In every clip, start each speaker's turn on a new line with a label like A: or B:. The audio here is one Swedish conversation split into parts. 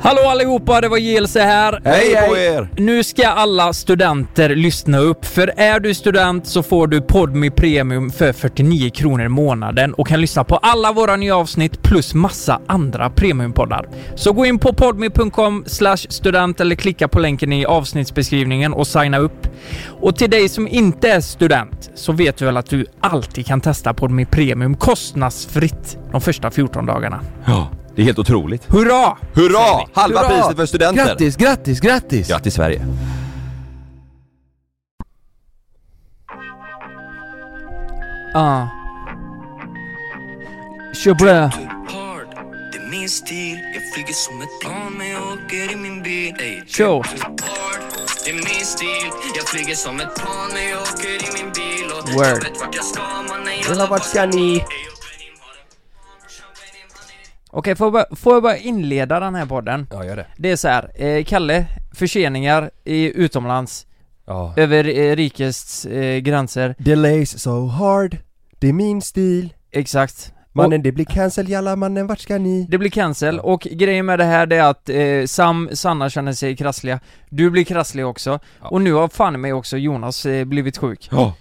A: Hallå allihopa, det var JLC här.
B: Hej på er!
A: Nu ska alla studenter lyssna upp, för är du student så får du Podmi Premium för 49 kronor i månaden och kan lyssna på alla våra nya avsnitt plus massa andra premiumpoddar. Så gå in på podmi.com student eller klicka på länken i avsnittsbeskrivningen och signa upp. Och till dig som inte är student så vet du väl att du alltid kan testa Podmi Premium kostnadsfritt de första 14 dagarna.
B: Ja, det är helt otroligt.
A: Hurra!
B: Hurra! Halva
C: Hurra!
B: priset för studenter!
C: Grattis, grattis, grattis!
B: Grattis Sverige!
A: Ja. Kör på det.
D: Hard. Det är min stil, jag flyger som ett plan men jag åker i min bil Ey,
A: Show.
D: Hard. Det är min stil, jag flyger som ett plan men jag åker i min bil och
A: Word.
D: jag vet vart jag ska mannen
C: Eller vart ska ni?
A: Okej, får jag, bara, får jag bara inleda den här podden?
B: Ja, gör det.
A: Det är så här, eh, Kalle, förseningar i utomlands,
B: Ja.
A: över eh, rikets eh, gränser,
C: Delays so hard, det är min stil
A: exakt.
C: Mannen det blir cancel jalla mannen vart ska ni?
A: Det blir cancel, och grejen med det här det är att eh, Sam, Sanna känner sig krassliga, du blir krasslig också,
B: Ja.
A: och nu har fan i mig också Jonas eh, blivit sjuk.
B: Ja.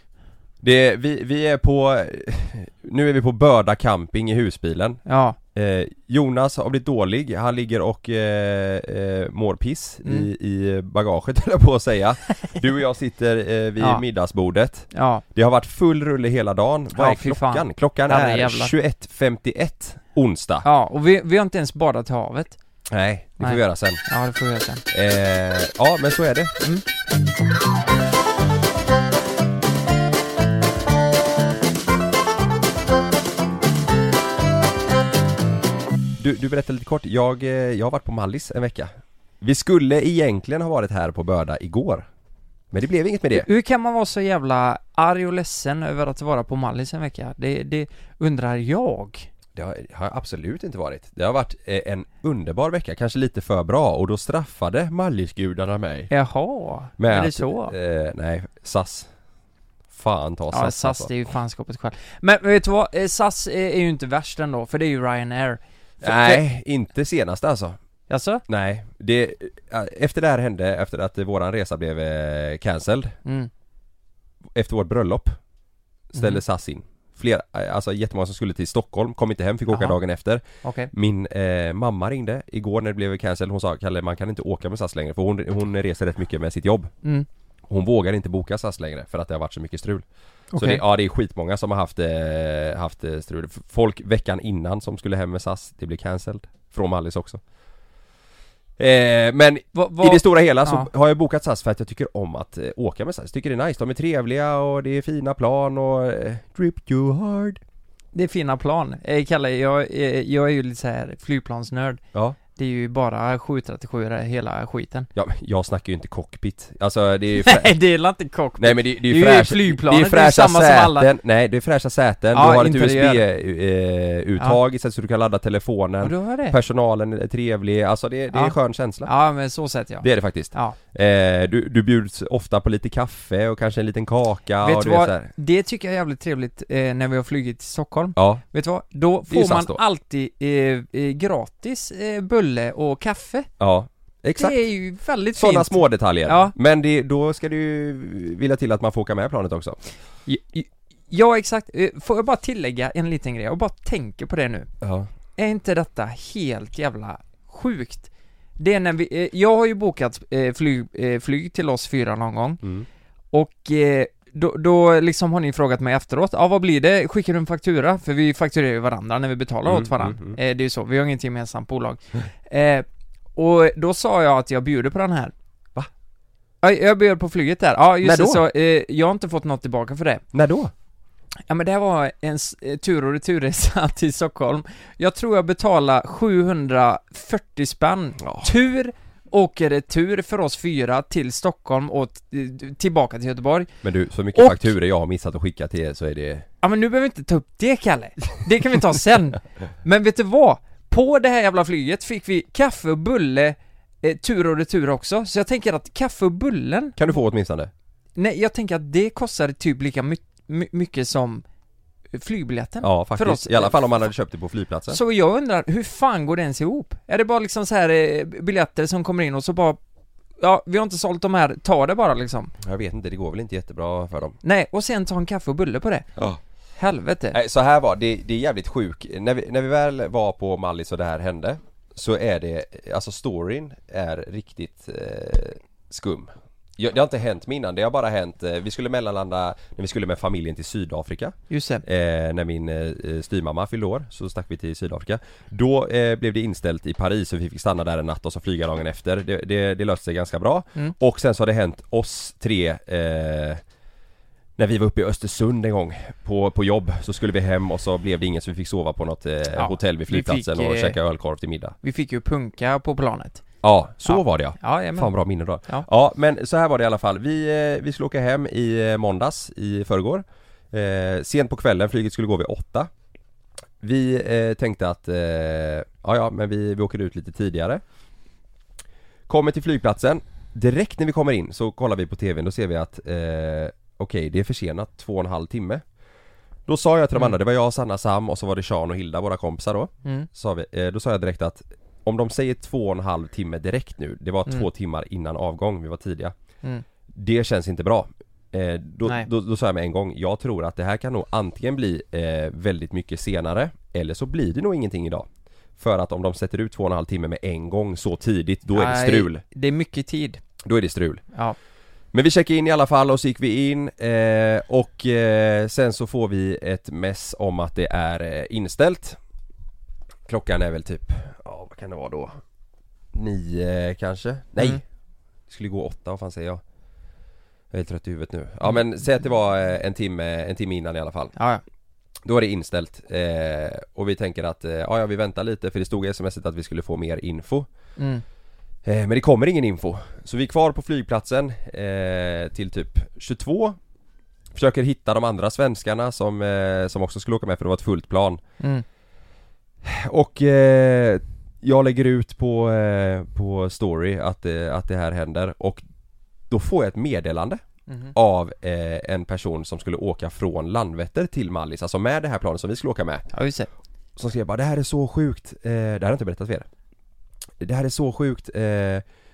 B: Det, vi, vi är på, eh, nu är vi på Börda camping i husbilen.
A: Ja,
B: Eh, Jonas har blivit dålig, han ligger och eh, eh, mår piss
A: Mm.
B: i, i bagaget höll jag på att säga. Du och jag sitter eh, vid
A: Ja.
B: middagsbordet.
A: ja,
B: Det har varit full rulle hela dagen. Vad
A: Ja,
B: är
A: fy
B: klockan?
A: fan.
B: Klockan
A: Ja, men
B: är
A: jävlar.
B: 21.51 onsdag.
A: ja, och vi, vi har inte ens badat i havet.
B: Nej, det får
A: Nej.
B: vi göra sen.
A: Ja, det får vi göra sen.
B: Eh, ja, men så är det.
A: Mm.
B: Du, du berättade lite kort, jag, eh, jag har varit på Mallis en vecka. Vi skulle egentligen ha varit här på Börda igår. Men det blev inget med det.
A: Hur kan man vara så jävla arg och ledsen över att vara på Mallis en vecka? Det, det undrar jag.
B: Det har, har jag absolut inte varit. Det har varit eh, en underbar vecka, kanske lite för bra och då straffade Mallisgudarna mig.
A: Jaha,
B: Med
A: är det
B: att,
A: så?
B: Eh, nej, SAS. Fan ta SAS,
A: Ja, SAS
B: alltså.
A: det är ju fanskapet själv. Men vet du vad? Eh, SAS är är ju inte värst ändå, för det är ju Ryanair. För-
B: Nej, inte senast alltså.
A: Alltså?
B: Nej, det, eh, efter det här hände, efter att eh, våran resa blev eh, cancelled,
A: Mm.
B: efter vårt bröllop ställde
A: Mhm.
B: SAS in. Fler, eh, alltså jättemånga som skulle till Stockholm, kom inte hem, fick åka
A: Jaha.
B: dagen efter.
A: Okej.
B: Min eh, mamma ringde igår när det blev cancelled, hon sa Kalle man kan inte åka med SAS längre för hon, hon reser rätt mycket med sitt jobb.
A: Mm.
B: Hon vågar inte boka SAS längre för att det har varit så mycket strul. Så
A: Okej.
B: det, ja det är skitmånga som har haft, eh, haft eh, strul. F- Folk veckan innan som skulle hem med SAS, det blir cancelled. Från Mallis också. Eh, men
A: Va, va,
B: i det stora hela så
A: ja.
B: har jag bokat SAS för att jag tycker om att eh, åka med SAS. Jag tycker det är nice, de är trevliga och det är fina plan och... Eh, drip you hard.
A: det är fina plan. Eh, Kalle, jag, eh, jag är ju lite så här flygplansnörd.
B: Ja.
A: Det är ju bara 737 det hela skiten.
B: ja, men jag snackar ju inte cockpit. Alltså det är ju frä-
A: Nej, det är väl inte cockpit?
B: Nej men det, det är
A: Det är ju
B: ju fräscha,
A: flygplanet,
B: det är fräscha
A: det är samma som
B: säten,
A: alla.
B: nej det är fräscha säten,
A: Ja,
B: du har ett
A: interiör.
B: USB-uttag eh, istället så du kan ladda telefonen,
A: Ja, du har det.
B: personalen är trevlig, alltså det, det är
A: Ja.
B: en skön känsla.
A: Ja, men så sett jag.
B: Det är det faktiskt.
A: Ja.
B: Eh, du, du bjuds ofta på lite kaffe och kanske en liten kaka och
A: Vet du
B: du
A: vad?
B: så här.
A: Det tycker jag är jävligt trevligt eh, när vi har flugit till Stockholm.
B: Ja,
A: Vet du vad? Då
B: Det är ju
A: får man
B: SAS då.
A: alltid eh, eh, gratis eh, bulle och kaffe.
B: ja. Exakt.
A: Det är ju väldigt
B: Sådana
A: fint.
B: små detaljer.
A: Ja.
B: Men det, då ska du ju vilja till att man får åka med planet också.
A: J- Ja, exakt. Eh, Får jag bara tillägga en liten grej? Jag bara tänker på det nu.
B: Ja.
A: Är inte detta helt jävla sjukt? Det är när vi, eh, jag har ju bokat eh, flyg, eh, flyg till oss fyra någon gång
B: Mm.
A: och eh, då, då liksom har ni frågat mig efteråt, ja ah, vad blir det? Skickar du en faktura? För vi fakturerar ju varandra när vi betalar
B: Mm,
A: åt varandra.
B: mm,
A: Eh, det är ju så, vi har inget gemensamt bolag. eh, och då sa jag att jag bjuder på den här.
B: Va?
A: Ja, jag bjöd på flyget där. Ja, just
B: När
A: det,
B: då?
A: så eh, jag har inte fått något tillbaka för det.
B: När då?
A: Ja men det här var en s- eh, tur och returresa till Stockholm Jag tror jag betalade 740 spänn
B: Ja.
A: Tur och retur för oss fyra till Stockholm och t- tillbaka till Göteborg
B: Men du, så mycket
A: Och-
B: fakturer jag har missat att skicka till er så är det...
A: Ja men nu behöver vi inte ta upp det Kalle Det kan vi ta sen Men vet du vad? På det här jävla flyget fick vi kaffe och bulle eh, Tur och retur också Så jag tänker att kaffe och bullen
B: Kan du få åtminstone?
A: Nej jag tänker att det kostar typ lika my- my- mycket som flygbiljetten.
B: Ja faktiskt,
A: För oss-
B: i alla fall om man hade köpt det på flygplatsen
A: Så jag undrar, hur fan går det ens ihop? Är det bara liksom så här eh, biljetter som kommer in och så bara Ja, vi har inte sålt de här, ta det bara liksom.
B: Jag vet inte, det går väl inte jättebra för dem
A: Nej, och sen ta en kaffe och bulle på det.
B: Ja.
A: Helvete.
B: Nej, så här var det, det är jävligt sjuk. När vi, när vi väl var på Mallis och det här hände Så är det, alltså storyn är riktigt eh, skum jag, Det har inte hänt mig innan, det har bara hänt, eh, vi skulle mellanlanda när vi skulle med familjen till Sydafrika
A: Just det.
B: eh, När min eh, styvmamma fyllde år så stack vi till Sydafrika Då eh, blev det inställt i Paris så vi fick stanna där en natt och så flyga dagen efter Det, det, det löste sig ganska bra
A: Mm.
B: Och sen så har det hänt oss tre eh, när vi var uppe i Östersund en gång på, på jobb så skulle vi hem och så blev det inget så vi fick sova på något eh,
A: Ja,
B: hotell vid
A: vi fick,
B: flygplatsen och
A: eh,
B: käka ölkorv till middag.
A: Vi fick ju punka på planet.
B: Ja, så
A: ja.
B: var det ja.
A: Ja, jajamän.
B: Fan bra minne då.
A: Ja.
B: Ja. men så här var det i alla fall. Vi, eh, vi skulle åka hem i eh, måndags i förrgår. Eh, sent på kvällen, flyget skulle gå vid åtta. Vi eh, tänkte att, eh, ja ja men vi, vi åker ut lite tidigare. Kommer till flygplatsen. Direkt när vi kommer in så kollar vi på TVn, då ser vi att eh, okej det är försenat två och en halv timme. Då sa jag till de
A: Mm.
B: andra, det var jag, Sanna, Sam och så var det Sean och Hilda, våra kompisar då.
A: Mm.
B: Sa vi, eh, då sa jag direkt att om de säger två och en halv timme direkt nu, det var
A: Mm.
B: två timmar innan avgång, vi var tidiga.
A: Mm.
B: Det känns inte bra. Eh, då,
A: Nej.
B: då, då sa jag med en gång, jag tror att det här kan nog antingen bli eh, väldigt mycket senare, eller så blir det nog ingenting idag. För att om de sätter ut två och en halv timme med en gång så tidigt, då är det
A: Nej,
B: strul.
A: Det är mycket tid.
B: Då är det strul.
A: Ja.
B: Men vi checkade in i alla fall och så gick vi in eh, och eh, sen så får vi ett mess om att det är eh, inställt Klockan är väl typ, ja vad kan det vara då? Nio eh, kanske? Nej!
A: Mm.
B: Det skulle gå åtta, vad fan säger jag? Jag är trött i huvudet nu. Ja men säg att det var eh, en timme, en timme innan i alla fall
A: Ja, ja.
B: då är det inställt eh, och vi tänker att eh, ja, ja, vi väntar lite för det stod i smset att vi skulle få mer info
A: Mm.
B: Eh, Men det kommer ingen info. Så vi är kvar på flygplatsen eh, till typ 22 Försöker hitta de andra svenskarna som, eh, som också skulle åka med för det var ett fullt plan.
A: Mm.
B: Och eh, jag lägger ut på, eh, på story att, eh, att det här händer och då får jag ett meddelande
A: Mhm.
B: av eh, en person som skulle åka från Landvetter till Mallis, alltså med det här planet som vi skulle åka med.
A: Ja, just det.
B: Som skrev bara det här är så sjukt, eh, det här har jag inte berättat för er Det här är så sjukt, eh,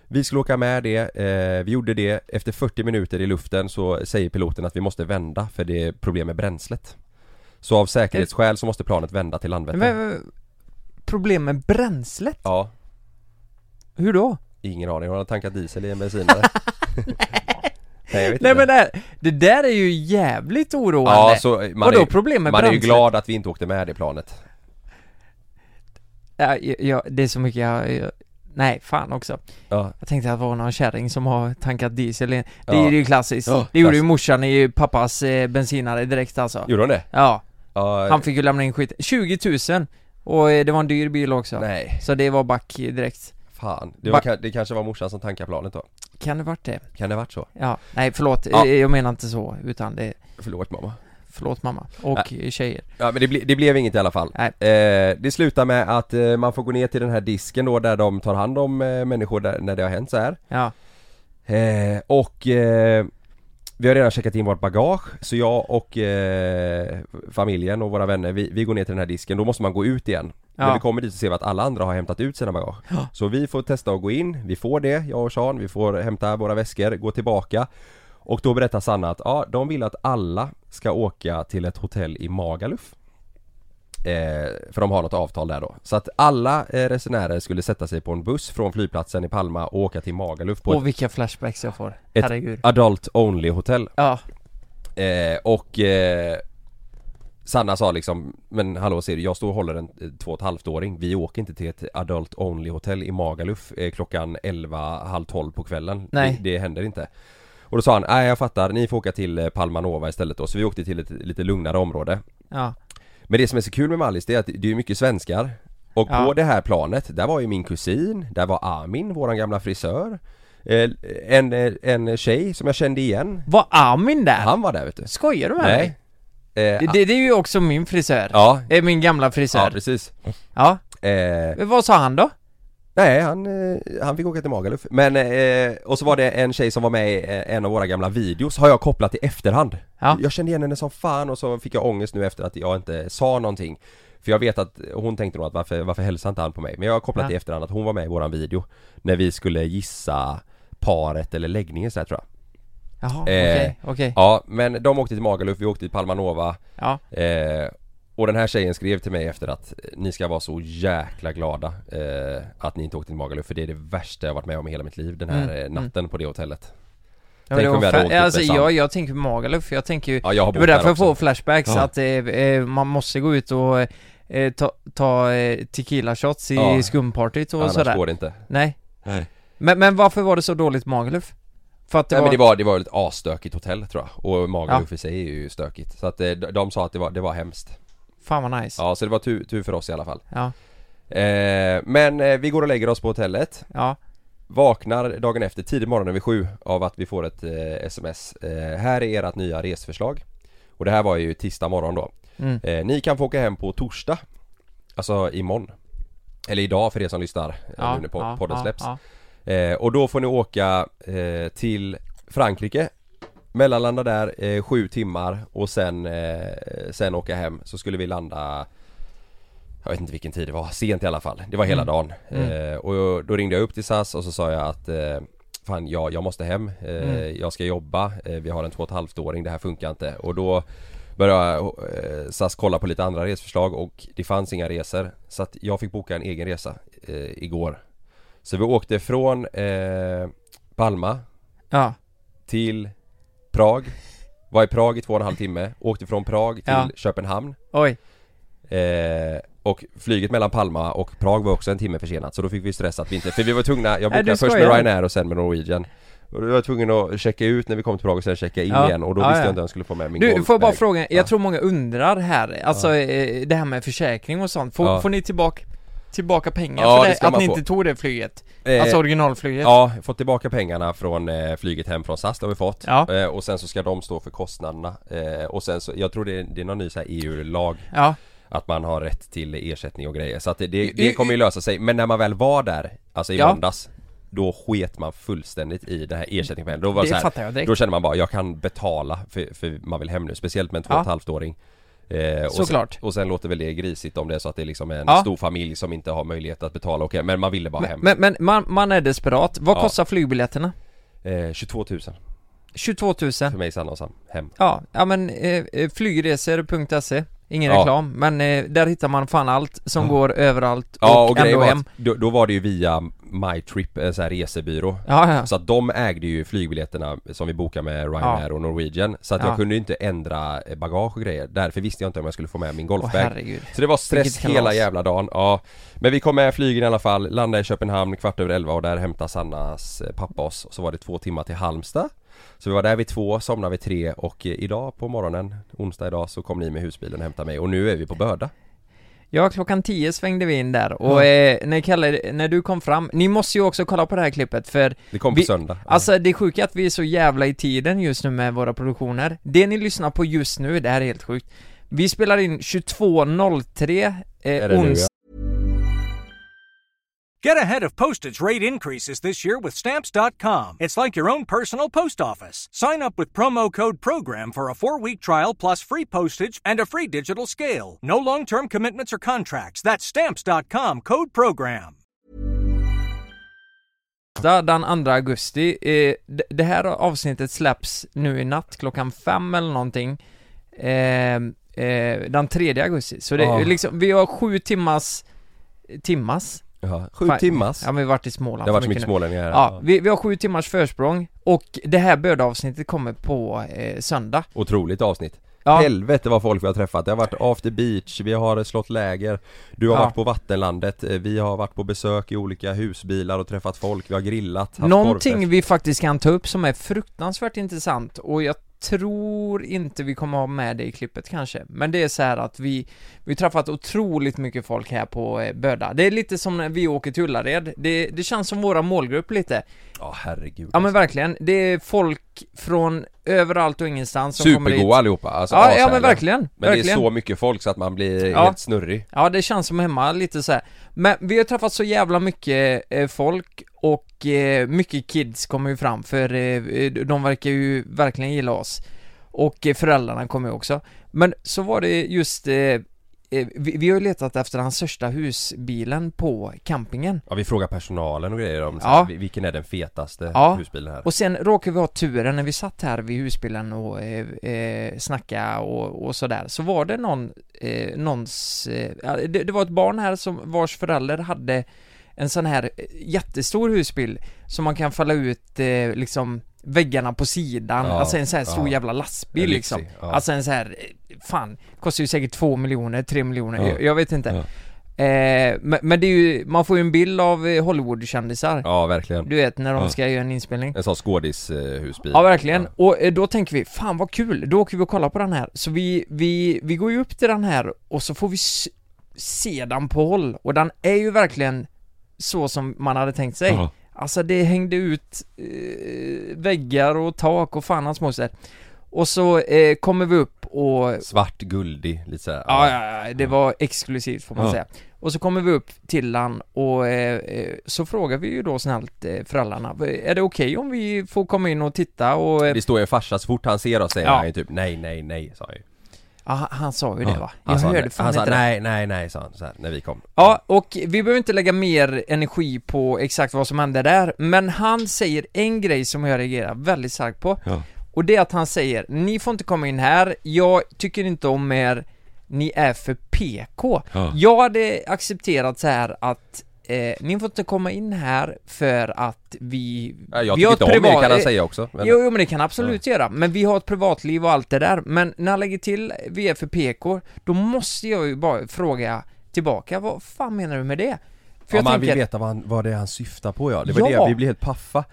B: vi skulle åka med det, eh, vi gjorde det, efter 40 minuter i luften så säger piloten att vi måste vända för det är problem med bränslet Så av säkerhetsskäl så måste planet vända till Landvetter
A: Men, men, problem med bränslet?
B: Ja,
A: Hur då?
B: ingen aning, har de tankat diesel i en bensinare? Nej jag vet
A: Nej
B: inte
A: men det, här, det där är ju jävligt oroande.
B: Ja så man,
A: Vadå
B: är,
A: problem med
B: man är ju
A: bränslet?
B: glad att vi inte åkte med det planet
A: Ja, jag, jag, det är så mycket jag, jag... Nej, fan också.
B: Ja,
A: Jag tänkte att det var någon kärring som har tankat diesel i... Det
B: Ja.
A: är ju klassiskt.
B: Ja,
A: det gjorde ju
B: klassiskt.
A: morsan i pappas eh, bensinare direkt alltså.
B: gjorde de det?
A: Ja,
B: Ja,
A: han fick ju lämna in skit. 20 000! Och eh, det var en dyr bil också.
B: nej,
A: Så det var back direkt.
B: fan det,
A: Va-
B: var, det kanske var morsan som tankade planet då?
A: Kan det varit det?
B: Kan det ha varit så?
A: Ja, nej förlåt.
B: Ja.
A: Eh, Jag menar inte så, utan det...
B: Förlåt mamma
A: Förlåt mamma. Och tjejer.
B: Ja men det, ble, det blev inget i alla fall.
A: Nej.
B: Eh, det slutar med att eh, man får gå ner till den här disken då där de tar hand om eh, människor där, när det har hänt så här.
A: Ja.
B: Eh, och eh, vi har redan checkat in vårt bagage så jag och eh, familjen och våra vänner vi, vi går ner till den här disken, då måste man gå ut igen. När
A: Ja.
B: vi kommer dit så ser vi att alla andra har hämtat ut sina bagage.
A: Ja.
B: Så vi får testa att gå in, vi får det, jag och Sean, vi får hämta våra väskor, gå tillbaka. Och då berättar Sanna att ja, de vill att alla ska åka till ett hotell i Magaluf. Eh, för de har något avtal där då. Så att alla eh, resenärer skulle sätta sig på en buss från flygplatsen i Palma och åka till Magaluf på
A: Och vilka flashbacks jag får.
B: Ett-
A: Herregud.
B: ett adult only hotell.
A: Ja.
B: Eh, och eh, Sanna sa liksom, men hallå ser du, jag står och håller en eh, två och ett halvt åring. Vi åker inte till ett adult only hotell i Magaluf eh, klockan 11, halv 12 på kvällen.
A: Nej.
B: Det, det händer inte. Och då sa han, nej jag fattar, ni får åka till eh, Palma Nova istället då. Så vi åkte till ett lite lugnare område.
A: Ja.
B: Men det som är så kul med Mallis det är att det är mycket svenskar Och
A: Ja.
B: på det här planet, där var ju min kusin, där var Amin, våran gamla frisör Eh, En, eh, en tjej som jag kände igen
A: Var Armin där?
B: Han var där vet du
A: Skojar du med mig?
B: Nej Eh,
A: Det, det, det är ju också min frisör.
B: Ja,
A: Eh, Min gamla
B: ja
A: frisör.
B: precis
A: Ja.
B: eh,
A: Men Vad sa han då?
B: Nej, han, eh, han fick åka till Magaluf. Men, eh, och så var det en tjej som var med i eh, en av våra gamla videos, har jag kopplat i efterhand.
A: Ja.
B: Jag kände igen henne som fan och så fick jag ångest nu efter att jag inte sa någonting. För jag vet att hon tänkte nog att varför, varför hälsar inte han på mig? Men jag har kopplat
A: Ja.
B: i efterhand att hon var med i våran video. När vi skulle gissa paret eller läggningen så här, tror jag.
A: Jaha,
B: Eh,
A: okej, okej.
B: Ja, men de åkte till Magaluf, vi åkte till Palma Nova.
A: Ja.
B: Eh, och den här tjejen skrev till mig efter att eh, ni ska vara så jäkla glada eh, att ni inte åkte till Magaluf för det är det värsta jag varit med om i hela mitt liv den här
A: Mm,
B: eh, natten på det hotellet.
A: Ja, men
B: Tänk
A: det
B: om vi
A: var
B: hade
A: fa-
B: åkt upp med
A: alltså,
B: sand.
A: jag, jag tänker på Magaluf, för jag tänker ju
B: Ja, jag har
A: Det
B: bott
A: var därför
B: där
A: jag får
B: också.
A: flashbacks,
B: Ja.
A: att eh, eh, man måste gå ut och eh, ta, ta eh, tequila shots i
B: Ja.
A: skumpartyt och
B: Annars
A: sådär
B: går det inte.
A: Nej
B: Nej.
A: men, men varför var det så dåligt Magaluf? För att det
B: Nej
A: var...
B: men det var, det var ett asstökigt hotell tror jag och Magaluf i sig är ju stökigt. Så att eh, de de sa att det var, det var hemskt.
A: Fan vad nice
B: Ja så det var tur, tur för oss i alla fall.
A: Ja,
B: Eh, men eh, vi går och lägger oss på hotellet.
A: ja,
B: Vaknar dagen efter, tidig morgon vid sju av att vi får ett eh, sms. Eh, här är ert nya resförslag. Och det här var ju tisdag morgon då.
A: Mm.
B: Eh, ni kan få åka hem på torsdag. Alltså imorgon. Eller idag för er som lyssnar eh,
A: ja,
B: nu när po-
A: ja,
B: podden
A: ja,
B: släpps.
A: ja.
B: Eh, och då får ni åka eh, till Frankrike Mellanlanda där eh, sju timmar och sen, eh, sen åka hem så skulle vi landa Jag vet inte vilken tid det var, sent i alla fall. Det var hela
A: Mm.
B: dagen. Eh, och då ringde jag upp till SAS och så sa jag att eh, Fan jag, jag måste hem, eh,
A: Mm.
B: jag ska jobba, eh, vi har en två och ett halvt åring, det här funkar inte. Och då började eh, SAS kolla på lite andra resförslag och det fanns inga resor. Så att jag fick boka en egen resa eh, igår. Så vi åkte från eh, Palma
A: ja.
B: till Prag Var i Prag i två och en halv timme Åkte från Prag till
A: Ja.
B: Köpenhamn
A: Oj,
B: eh, Och flyget mellan Palma och Prag var också en timme försenat Så då fick vi stressa att vi inte För vi var tvungna,
A: Nej, du
B: jag bokade först med
A: skojar.
B: Ryanair och sen med Norwegian och vi var tvungna att checka ut när vi kom till Prag och sen checka in
A: Ja.
B: igen och då
A: Ja,
B: visste
A: ja.
B: jag inte om jag skulle få med min
A: du
B: golfbag.
A: får jag bara fråga, jag
B: Ja.
A: tror många undrar här, alltså eh, det här med försäkring och sånt, får,
B: Ja.
A: får ni tillbaka, tillbaka pengar
B: Ja,
A: för
B: det
A: det,
B: ska
A: att
B: man
A: ni
B: få.
A: inte tog det flyget?
B: Eh,
A: Alltså originalflyget?
B: Ja, fått tillbaka pengarna från eh, flyget hem från SAS, det har vi fått.
A: Ja.
B: Eh, och sen så ska de stå för kostnaderna. Eh, och sen så, jag tror det är, det är någon ny så här E EU-lag
A: ja.
B: Att man har rätt till ersättning och grejer så att det, det,
A: I-
B: det kommer ju lösa sig men när man väl var där Alltså i
A: Ja.
B: måndags Då sket man fullständigt i den här ersättningen Då var det
A: Det
B: så här,
A: fattar jag direkt.
B: Då kände man bara jag kan betala för, för man vill hem nu Speciellt med en två
A: Ja.
B: och ett halvt åring Eh, och
A: Såklart.
B: Sen, och sen låter väl det grisigt om det är så att det är liksom en
A: Ja.
B: stor familj som inte har möjlighet att betala okej, men man ville bara hem
A: Men, men man, man är desperat. Vad
B: Ja.
A: kostar flygbiljetterna?
B: eh, 22 000
A: 22 000.
B: för mig Sanna och Sam, hem
A: Ja, ja men eh, eh, flygresor.se Ingen
B: Ja.
A: reklam, men eh, där hittar man fan allt som går överallt och,
B: Ja och, grejen
A: ändå
B: var
A: hem.
B: att, då, då var det ju via MyTrip, en sån här resebyrå
A: Ja, ja.
B: Så att de ägde ju flygbiljetterna som vi bokade med Ryanair och Norwegian Så att
A: Ja.
B: jag kunde ju inte ändra eh, bagage och grejer Därför visste jag inte om jag skulle få med min
A: Åh
B: golfbag
A: herregud.
B: Så det var stress
A: Vilket kalas.
B: hela jävla dagen, ja Men vi kom med flygen i alla fall, landade i Köpenhamn kvart över elva och där hämtade Sannas eh, pappa oss Och så var det två timmar till Halmstad Så vi var där vid två, somnade vid tre och eh, idag på morgonen, onsdag idag så kom ni med husbilen och hämtade mig och nu är vi på Börda
A: Ja, klockan 10 svängde vi in där och eh, när Kalle, när du kom fram, ni måste ju också kolla på det här klippet för
B: Det kom på
A: Vi-
B: söndag
A: Alltså det sjuka är att vi är så jävla i tiden just nu med våra produktioner Det ni lyssnar på just nu, det här är helt sjukt Vi spelar in 22.03
B: Är
A: eh,
B: det nu, ja.
A: ons
E: Get ahead of postage rate increases this year with stamps.com. It's like your own personal post office. Sign up with promo code program for a 4-week trial plus free postage and a free digital scale. No long-term commitments or contracts. That's stamps.com code program.
A: onsdag den 2 augusti. Eh, d- det här avsnittet släpps nu i natt klockan fem eller någonting. Eh, eh, den 3 augusti. Så det är
B: Ja.
A: liksom, vi har sju timmars... Timmas?
B: ja. Sju
A: Fan.
B: timmars
A: Ja men vi har varit i Småland
B: Det har varit
A: för
B: så mycket
A: nu.
B: smålänningar här
A: Ja, vi, vi har sju timmars försprång och det här bödavsnittet kommer på eh, söndag.
B: Otroligt avsnitt
A: Ja,
B: Helvete vad folk vi har träffat. Det har varit after beach, vi har slått läger, du har
A: Ja.
B: varit på vattenlandet, eh, vi har varit på besök i olika husbilar och träffat folk, vi har grillat, haft
A: någonting
B: korvfest.
A: vi faktiskt kan ta upp som är fruktansvärt intressant och jag tror inte vi kommer ha med det i klippet kanske, men det är så här att vi, vi har träffat otroligt mycket folk här på eh, Böda. Det är lite som när vi åker till Ullared, det, det känns som våra målgrupp lite.
B: Ja herregud
A: Ja men verkligen, det är folk från överallt och ingenstans som kommer hit.
B: Supergoa allihopa, alltså
A: Ja, ja
B: ashärliga.
A: men verkligen,
B: Men
A: verkligen.
B: det är så mycket folk så att man blir
A: Ja.
B: helt snurrig
A: Ja, det känns som hemma lite så här. Men vi har träffat så jävla mycket eh, folk och eh, mycket kids kommer ju fram för eh, de verkar ju verkligen gilla oss. Och eh, föräldrarna kommer ju också. Men så var det just eh, eh, vi, vi har ju letat efter hans största husbilen på campingen.
B: Ja vi frågar personalen och grejer om så
A: Ja.
B: här, vil- vilken är den fetaste
A: Ja.
B: husbilen här
A: Och sen råkade vi ha turen när vi satt här vid husbilen och eh, eh, snacka och, och sådär, så var det någon, eh, någons, eh, ja, det, det var ett barn här som vars förälder hade en sån här eh, jättestor husbil som man kan falla ut eh, liksom väggarna på sidan,
B: Ja,
A: alltså en sån här stor
B: ja.
A: jävla lastbil
B: En lyxig,
A: liksom.
B: ja.
A: Alltså en sån här, eh, fan, kostar ju säkert två miljoner, tre miljoner,
B: Ja.
A: jag, jag vet inte. Eh, men, men det är ju, man får ju en bild av eh, Hollywood-kändisar.
B: Ja verkligen
A: Du vet när de
B: Ja.
A: ska göra en inspelning.
B: En sån skådishusbil
A: Ja verkligen, och eh, då tänker vi, fan vad kul, då åker vi och kollar på den här. Så vi, vi, vi går ju upp till den här och så får vi s- se den på håll, och den är ju verkligen så som man hade tänkt sig.
B: Ja.
A: Alltså det hängde ut eh, väggar och tak och fan hans moster. Och så eh, kommer vi upp och
B: Svart, guldig, lite såhär
A: Ja, ja, ja, det var exklusivt får man
B: Ja.
A: säga. Och så kommer vi upp till han och eh, eh, så frågar vi ju då snällt eh, föräldrarna, är det okej om vi får komma in och titta och... eh,
B: Det står ju en farsa, så fort han ser oss säger
A: Ja.
B: han ju typ nej, nej, nej, sa han ju
A: Ja, han- han sa ju det va? Jag
B: Han sa,
A: hörde fan
B: Han sa
A: inte det.
B: nej, nej, nej, sa han så här, när vi kom
A: Ja, och vi behöver inte lägga mer energi på exakt vad som hände där, men han säger en grej som jag reagerar väldigt starkt på.
B: Ja.
A: Och det är att han säger, ni får inte komma in här, jag tycker inte om er, ni är för PK.
B: Ja.
A: Jag hade accepterat så här att Eh, ni får inte komma in här för att vi...
B: Ja, Jag
A: vi har
B: tycker inte
A: ett
B: om det
A: privat-
B: kan han
A: eh,
B: säga också men-
A: Jo, jo men det kan han absolut göra, men vi har ett privatliv och allt det där, men när han lägger till vi är för PK, då måste jag ju bara fråga tillbaka, vad fan menar du med det? För
B: ja,
A: jag
B: man
A: tänker,
B: vill veta vad, han, vad det är han syftar på ja, det var
A: Ja.
B: det, vi blev helt paffa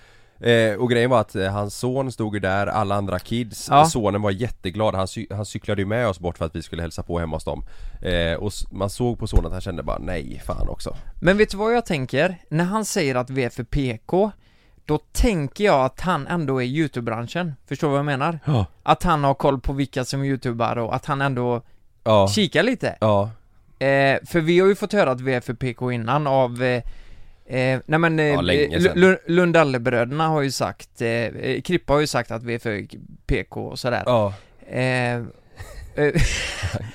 B: eh, Och grejen var att eh, hans son stod ju där, alla andra kids,
A: Ja.
B: sonen var jätteglad, han, cy- han cyklade ju med oss bort för att vi skulle hälsa på hemma hos dem eh, Och s- man såg på sonen att han kände bara nej, fan också
A: men vet du vad jag tänker? När han säger att vi är för PK, då tänker jag att han ändå är i YouTube-branschen, förstår du vad jag menar?
B: Ja
A: Att han har koll på vilka som är YouTubare och att han ändå
B: Ja,
A: kikar lite.
B: ja.
A: Eh, för vi har ju fått höra att vi är för PK innan av eh, Eh, nej men eh,
B: Ja, länge sedan.
A: Lu- Lundellbröderna har ju sagt, eh, eh, Krippa har ju sagt att vi är för PK och sådär
B: ja.
A: eh, eh,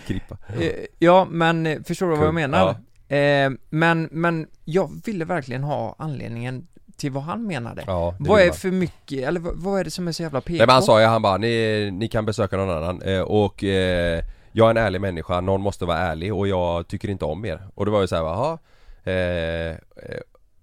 B: Krippa
A: Eh, Ja, men eh, förstår du vad jag
B: Kung,
A: menar? Eh, men, men jag ville verkligen ha anledningen till vad han menade.
B: Ja, det
A: vad
B: vill
A: är
B: man.
A: för mycket, eller vad, vad är det som är så jävla PK?
B: Nej men han sa ju, han bara ni, ni kan besöka någon annan eh, och eh, jag är en ärlig människa, någon måste vara ärlig och jag tycker inte om er Och det var ju såhär, jaha eh, eh,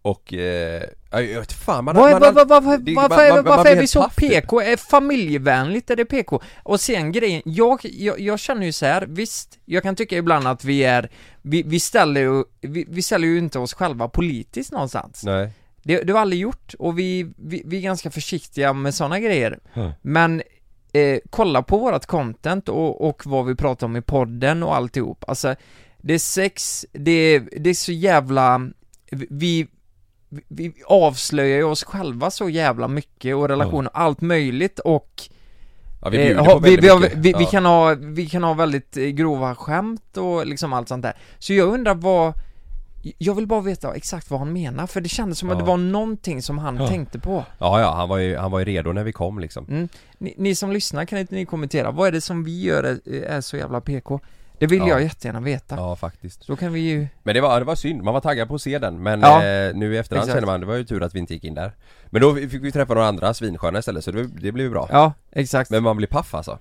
B: Och, eh, jag jag vet fan man,
A: Vad-
B: man,
A: vad- vad- vad-
B: det-
A: Varför är-
B: man- man- man
A: varför
B: blir
A: är vi
B: helt
A: så
B: paff, typ.
A: PK? Är familjevänligt är det PK? Och sen grejen, jag, jag, jag känner ju så här, visst, jag kan tycka ibland att vi är, vi, vi ställer ju, vi, vi ställer ju inte oss själva politiskt någonstans.
B: Nej,
A: Det, det har vi aldrig gjort och vi, vi, vi är ganska försiktiga med sådana grejer.
B: Mm.
A: Men eh, kolla på vårat content och, och vad vi pratar om i podden och alltihop. Alltså, det är sex, det, är- det är så jävla, vi, vi- vi avslöjar ju oss själva så jävla mycket och relationer, allt möjligt och
B: ja, vi
A: Eh,
B: bjuder
A: ha-
B: på väldigt
A: vi, har,
B: mycket.
A: vi, vi,
B: ja.
A: kan ha, vi kan ha väldigt eh, grova skämt och liksom allt sånt där. Så jag undrar vad... Jag vill bara veta exakt vad han menar, för det kändes som att
B: Ja.
A: det var någonting som han tänkte på.
B: ja, ja, han var ju, han var ju redo när vi kom liksom
A: Mm. Ni, ni som lyssnar, kan inte ni kommentera? Vad är det som vi gör är, är så jävla PK? Det vill
B: Ja.
A: jag jättegärna veta.
B: Ja faktiskt
A: Då kan vi ju...
B: Men det var, det var synd, man var taggad på att se den men
A: Ja.
B: eh, nu i efterhand
A: Exakt.
B: känner man det var ju tur att vi inte gick in där Men då fick vi träffa några andra svinsköna istället så det, det blev ju bra
A: Ja, exakt.
B: Men man blir paff alltså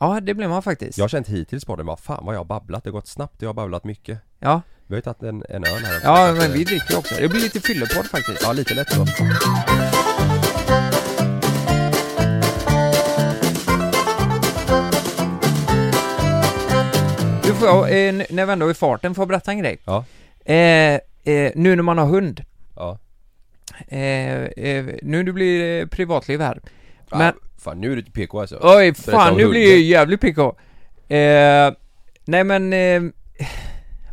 A: Ja, det blev man faktiskt.
B: Jag har känt hittills på den bara fan vad jag har babblat, det har gått snabbt, jag har babblat mycket
A: Ja.
B: Vi har ju tagit en, en öl här också.
A: ja, men vi dricker också. Det blir lite fyllepodd faktiskt.
B: Ja lite lätt så
A: Mm. Du får jag, eh, n- när vi ändå är i farten, får jag berätta en grej?
B: Ja,
A: Eh, eh, nu när man har hund,
B: ja
A: Eh, eh, nu det blir eh, privatliv här. Men,
B: Fan nu är du till PK alltså
A: Oj,
B: Berätta
A: fan
B: om
A: nu blir jag
B: hunden.
A: ju jävligt PK. Eh, nej men, eh,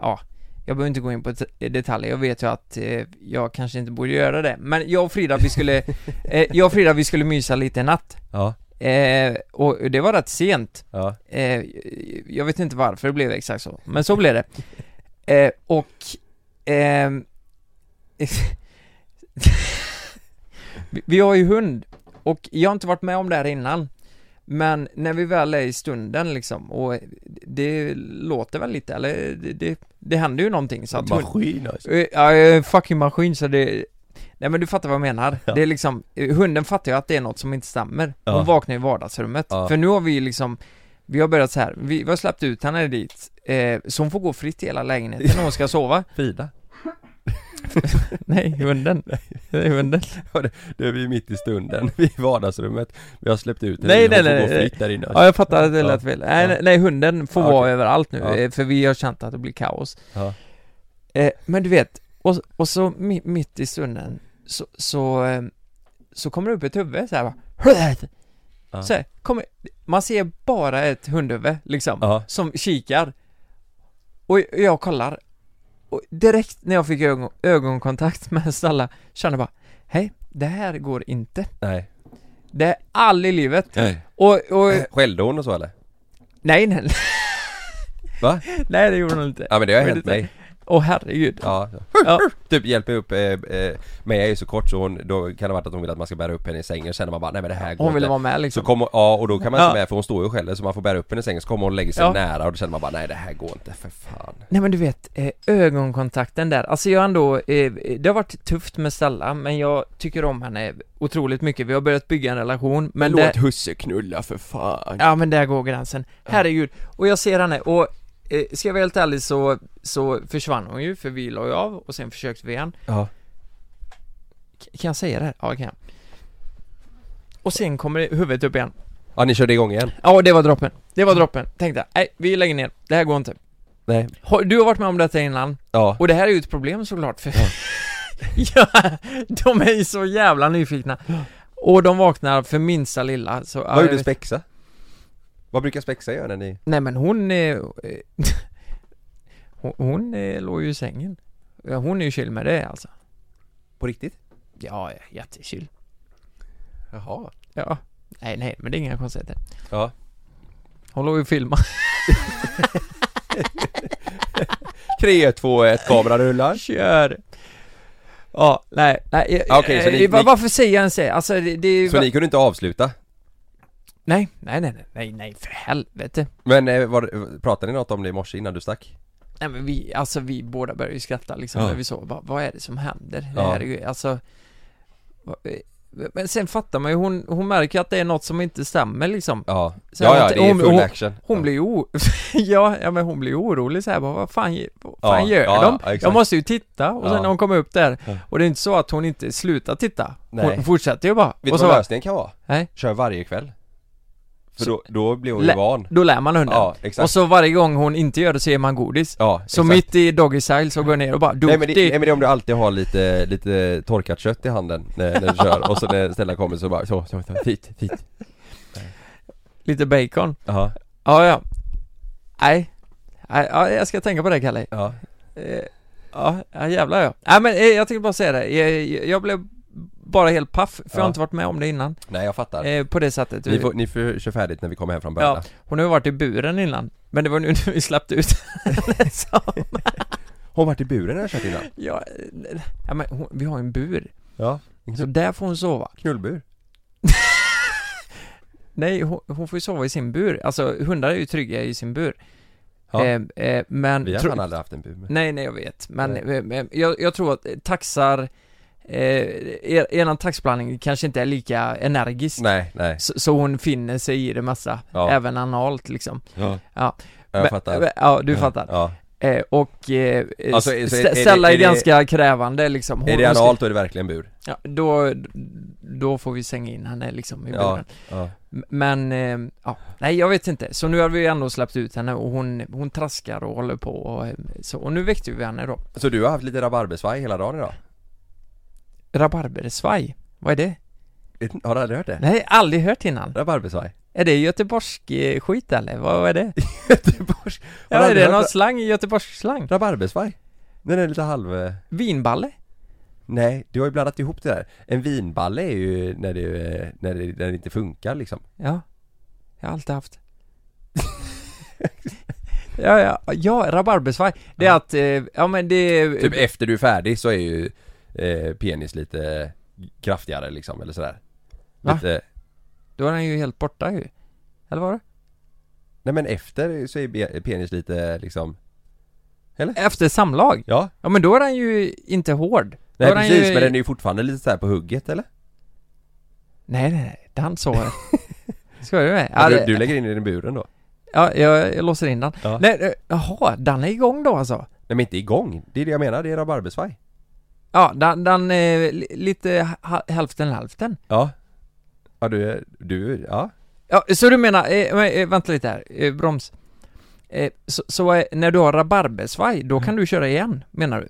A: ja. Jag behöver inte gå in på det- detaljer, jag vet ju att eh, jag kanske inte borde göra det. Men jag och Frida, vi skulle, eh, jag och Frida, vi skulle mysa lite i natt.
B: Ja,
A: Eh, och det var rätt sent.
B: ja,
A: Eh, jag vet inte varför det blev exakt så, men så blev det. Eh, och... ehm, vi, vi har ju hund, och jag har inte varit med om det här innan. Men när vi väl är i stunden liksom, och det låter väl lite, eller det, det, det händer ju någonting så att hund-
B: maskin alltså
A: Eh, Ja, jag är en fucking maskin så det... Nej men du fattar vad jag menar. Det är liksom, eh, hunden fattar ju att det är något som inte stämmer. Hon
B: Ja.
A: vaknar i vardagsrummet.
B: Ja.
A: För nu har vi ju liksom, vi har börjat så här. Vi, vi har släppt ut henne dit, eh, så hon får gå fritt i hela lägenheten när hon ska sova.
B: Frida
A: Nej, hunden. Det är hunden.
B: Det är vi mitt i stunden, vi är i vardagsrummet Vi har släppt ut
A: Nej,
B: hon
A: nej,
B: får
A: nej,
B: gå
A: nej.
B: fritt där inne
A: Ja jag fattar att det
B: Ja.
A: lät fel. Nej,
B: Ja.
A: nej, nej hunden får
B: Ja,
A: vara
B: okej.
A: överallt nu,
B: Ja.
A: eh, för vi har känt att det blir kaos.
B: Ja.
A: Eh, men du vet, och, och så mi, mitt i stunden så, så, eh, så kommer det upp ett huvud så här, va.
B: Ja.
A: så här kommer, Man ser bara ett hundhuvud liksom,
B: Ja.
A: som kikar. Och jag- jag kollar. Och direkt när jag fick ögon, ögonkontakt med Stalla kände jag bara, hej, det här går inte.
B: Nej
A: Det är aldrig i livet. Och, och
B: Skällde hon och så eller?
A: Nej, nej,
B: Va?
A: nej det gjorde hon inte.
B: Ja men det har
A: Men
B: hänt
A: det-
B: mig
A: Åh herregud.
B: Ja,
A: Ja.
B: typ hjälper upp, eh, eh, men jag är ju så kort så hon, då kan det vara att hon vill att man ska bära upp henne i sängen, känner man bara nej men det här går
A: Hon ville
B: inte.
A: vara med
B: Så
A: liksom.
B: kommer, ja och då kan man inte
A: Ja.
B: med för hon står ju och skäller så man får bära upp henne i sängen så kommer hon och lägger sig
A: Ja.
B: nära och då känner man bara nej det här går inte för fan
A: Nej men du vet, eh, ögonkontakten där. Alltså jag har ändå, eh, det har varit tufft med Stella, men jag tycker om henne otroligt mycket. Vi har börjat bygga en relation, men det...
B: husse knulla för fan
A: Ja men där går gränsen. Herregud. Och jag ser henne och, eh, ska jag vara helt ärlig så, så försvann hon ju, för vi la ju av och sen försökte vi igen.
B: Ja,
A: K- Kan jag säga det här? Ja, det kan jag. Och sen kommer huvudet upp igen.
B: ja ni körde igång igen?
A: Ja, det var droppen. Det var droppen. Tänkte jag, nej, vi lägger ner. Det här går inte.
B: Nej
A: Har- Du har varit med om detta innan,
B: Ja,
A: och det här är ju ett problem såklart för... ja, de är ju så jävla nyfikna. Och de vaknar för minsta lilla, så... ja,
B: vad
A: jag
B: gjorde
A: vet-
B: spexa? Vad brukar spexa göra när ni?
A: Nej men hon... Eh, eh, hon hon eh, låg ju i sängen. Ja, Hon är ju chill med det alltså.
B: På riktigt?
A: Ja, ja, jättechill.
B: Jaha
A: Ja. Nej, nej, men det är inga konstigheter.
B: Ja,
A: Hon låg ju och filmade.
B: 3, 2, 1, kameran rullar
A: Kör! Ja, nej, nej,
B: Ja, okej, så ni-
A: eh, va-
B: ni-
A: varför säger jag ens det? Alltså det, det är ju...
B: Så ni kunde inte avsluta?
A: Nej, nej, nej, nej, nej, nej, för helvete.
B: Men eh, var, pratade ni något om det i morse innan du stack?
A: Nej men vi, alltså vi båda började ju skratta liksom
B: Ja.
A: när vi såg, bara, vad är det som händer? Det
B: Ja.
A: här är ju, alltså va- eh, men sen fattar man ju, hon, hon märker att det är något som inte stämmer liksom
B: Ja,
A: Så
B: ja,
A: jag
B: ja
A: vet-
B: det är
A: hon-
B: full
A: hon-
B: action
A: Hon
B: Ja.
A: blir ju o- ja, ja men hon blir ju orolig så här, bara, vad fan, ge- vad fan
B: Ja,
A: gör
B: ja,
A: de?
B: ja, exakt.
A: jag måste ju titta, och sen
B: Ja.
A: när hon kommer upp där,
B: Ja.
A: och det är inte så att hon inte slutar titta
B: Nej.
A: Hon fortsätter ju bara,
B: Vet
A: och så
B: du vad
A: bara,
B: lösningen kan vara?
A: Nej.
B: Kör varje kväll För
A: Så-
B: då, då blir hon
A: Lä-
B: ju van
A: då lär man hunden
B: Ja, exakt
A: Och så varje gång hon inte gör det så ger man godis
B: Ja,
A: Så
B: exakt.
A: mitt i doggy style så går jag ner och bara,
B: Nej men, det,
A: duktig.
B: nej men det är om du alltid har lite, lite torkat kött i handen när, när du kör och så när Stella kommer så bara så, så, så fint, fint
A: lite bacon
B: Ja,
A: Ja, ja. Nej. Nej, ja, jag ska tänka på det Kalle.
B: ja,
A: Eh, Ja, ja jävlar ja. Nej men eh, jag tänkte bara säga det. Jag, jag blev bara helt paff, för jag
B: Ja.
A: har inte varit med om det innan.
B: nej jag fattar
A: Eh, på det sättet.
B: ni, får, ni får köra färdigt när vi kommer hem från början
A: ja, hon har ju varit i buren innan. Men det var nu när vi släppte ut henne som-
B: Har hon varit i buren när jag kört innan?
A: ja, eh, ja, men hon, vi har ju en bur.
B: Ja
A: Så där får hon sova.
B: Knullbur?
A: Nej, hon, hon får ju sova i sin bur. Alltså hundar är ju trygga i sin bur.
B: Ja.
A: Eh, eh, men
B: Vi har
A: tro-
B: fan aldrig haft en bur men...
A: Nej, nej jag vet, men
B: Typ. Nej.
A: eh, eh, jag, jag tror att eh, taxar eh, er, eran taxblandning kanske inte är lika energisk
B: Nej, nej,
A: så, så hon finner sig i det mesta,
B: Ja.
A: även analt liksom
B: ja,
A: Ja.
B: jag
A: Men-
B: fattar
A: eh, Ja, du fattar
B: Ja,
A: eh, Och eh, eh,
B: Alltså,
A: st-
B: så är- är det-
A: ställa är,
B: är det-
A: ganska krävande liksom Hon-
B: är det
A: hon ska-
B: analt då är det verkligen bur
A: ja, då, då får vi sänga in henne liksom i
B: Ja.
A: buren
B: Ja,
A: M- Men, eh, ja, nej jag vet inte. Så nu har vi ändå släppt ut henne och hon, hon traskar och håller på och eh, så, och nu väckte vi henne då
B: så du har haft lite rabarbersvaj hela dagen idag?
A: Rabarbersvaj, vad är det?
B: Vet inte- Har du aldrig hört det?
A: Nej, aldrig hört innan.
B: Rabarbersvaj
A: Är det göteborgsk eh, skit eller? Vad vad är det?
B: Göteborgs Har du
A: Ja, är
B: aldrig
A: det
B: hört
A: någon
B: ra-
A: slang, göteborgsslang?
B: Rabarbersvaj? Den är lite halv... eh,
A: Vinballe?
B: Nej, du har ju blandat ihop det där En vinballe är ju när det, eh, när det, när det inte funkar liksom
A: Ja, jag har alltid haft. ja, ja, ja, rabarbersvaj. Det är att, eh, ja men det är...
B: Typ efter du är färdig så är ju eh, penis lite kraftigare liksom eller sådär
A: Va?
B: lite,
A: Då är den ju helt borta ju. Eller var det?
B: Nej men efter så är be- penis lite liksom
A: Efter samlag?
B: Ja,
A: Ja men då är den ju inte hård.
B: nej
A: då är
B: precis
A: ju...
B: men den är ju fortfarande lite så här på hugget eller?
A: Nej nej, nej, den sover. Skojar du med?
B: Ja,
A: Ja,
B: du,
A: det-
B: du lägger in den i buren då?
A: ja jag, jag låser in den.
B: Ja. Nej
A: Nej, eh, jaha, den är igång då alltså?
B: men inte igång, det är det jag menar, det är rabarbersvaj
A: Ja, den, den eh, li- lite ha, hälften hälften.
B: Ja Ja du, är- du, ja
A: Ja, så du menar, eh, men, eh, vänta lite här, eh, broms. Eh, så så eh, när du har rabarbersvaj,
B: Mm.
A: då kan du köra igen, menar du?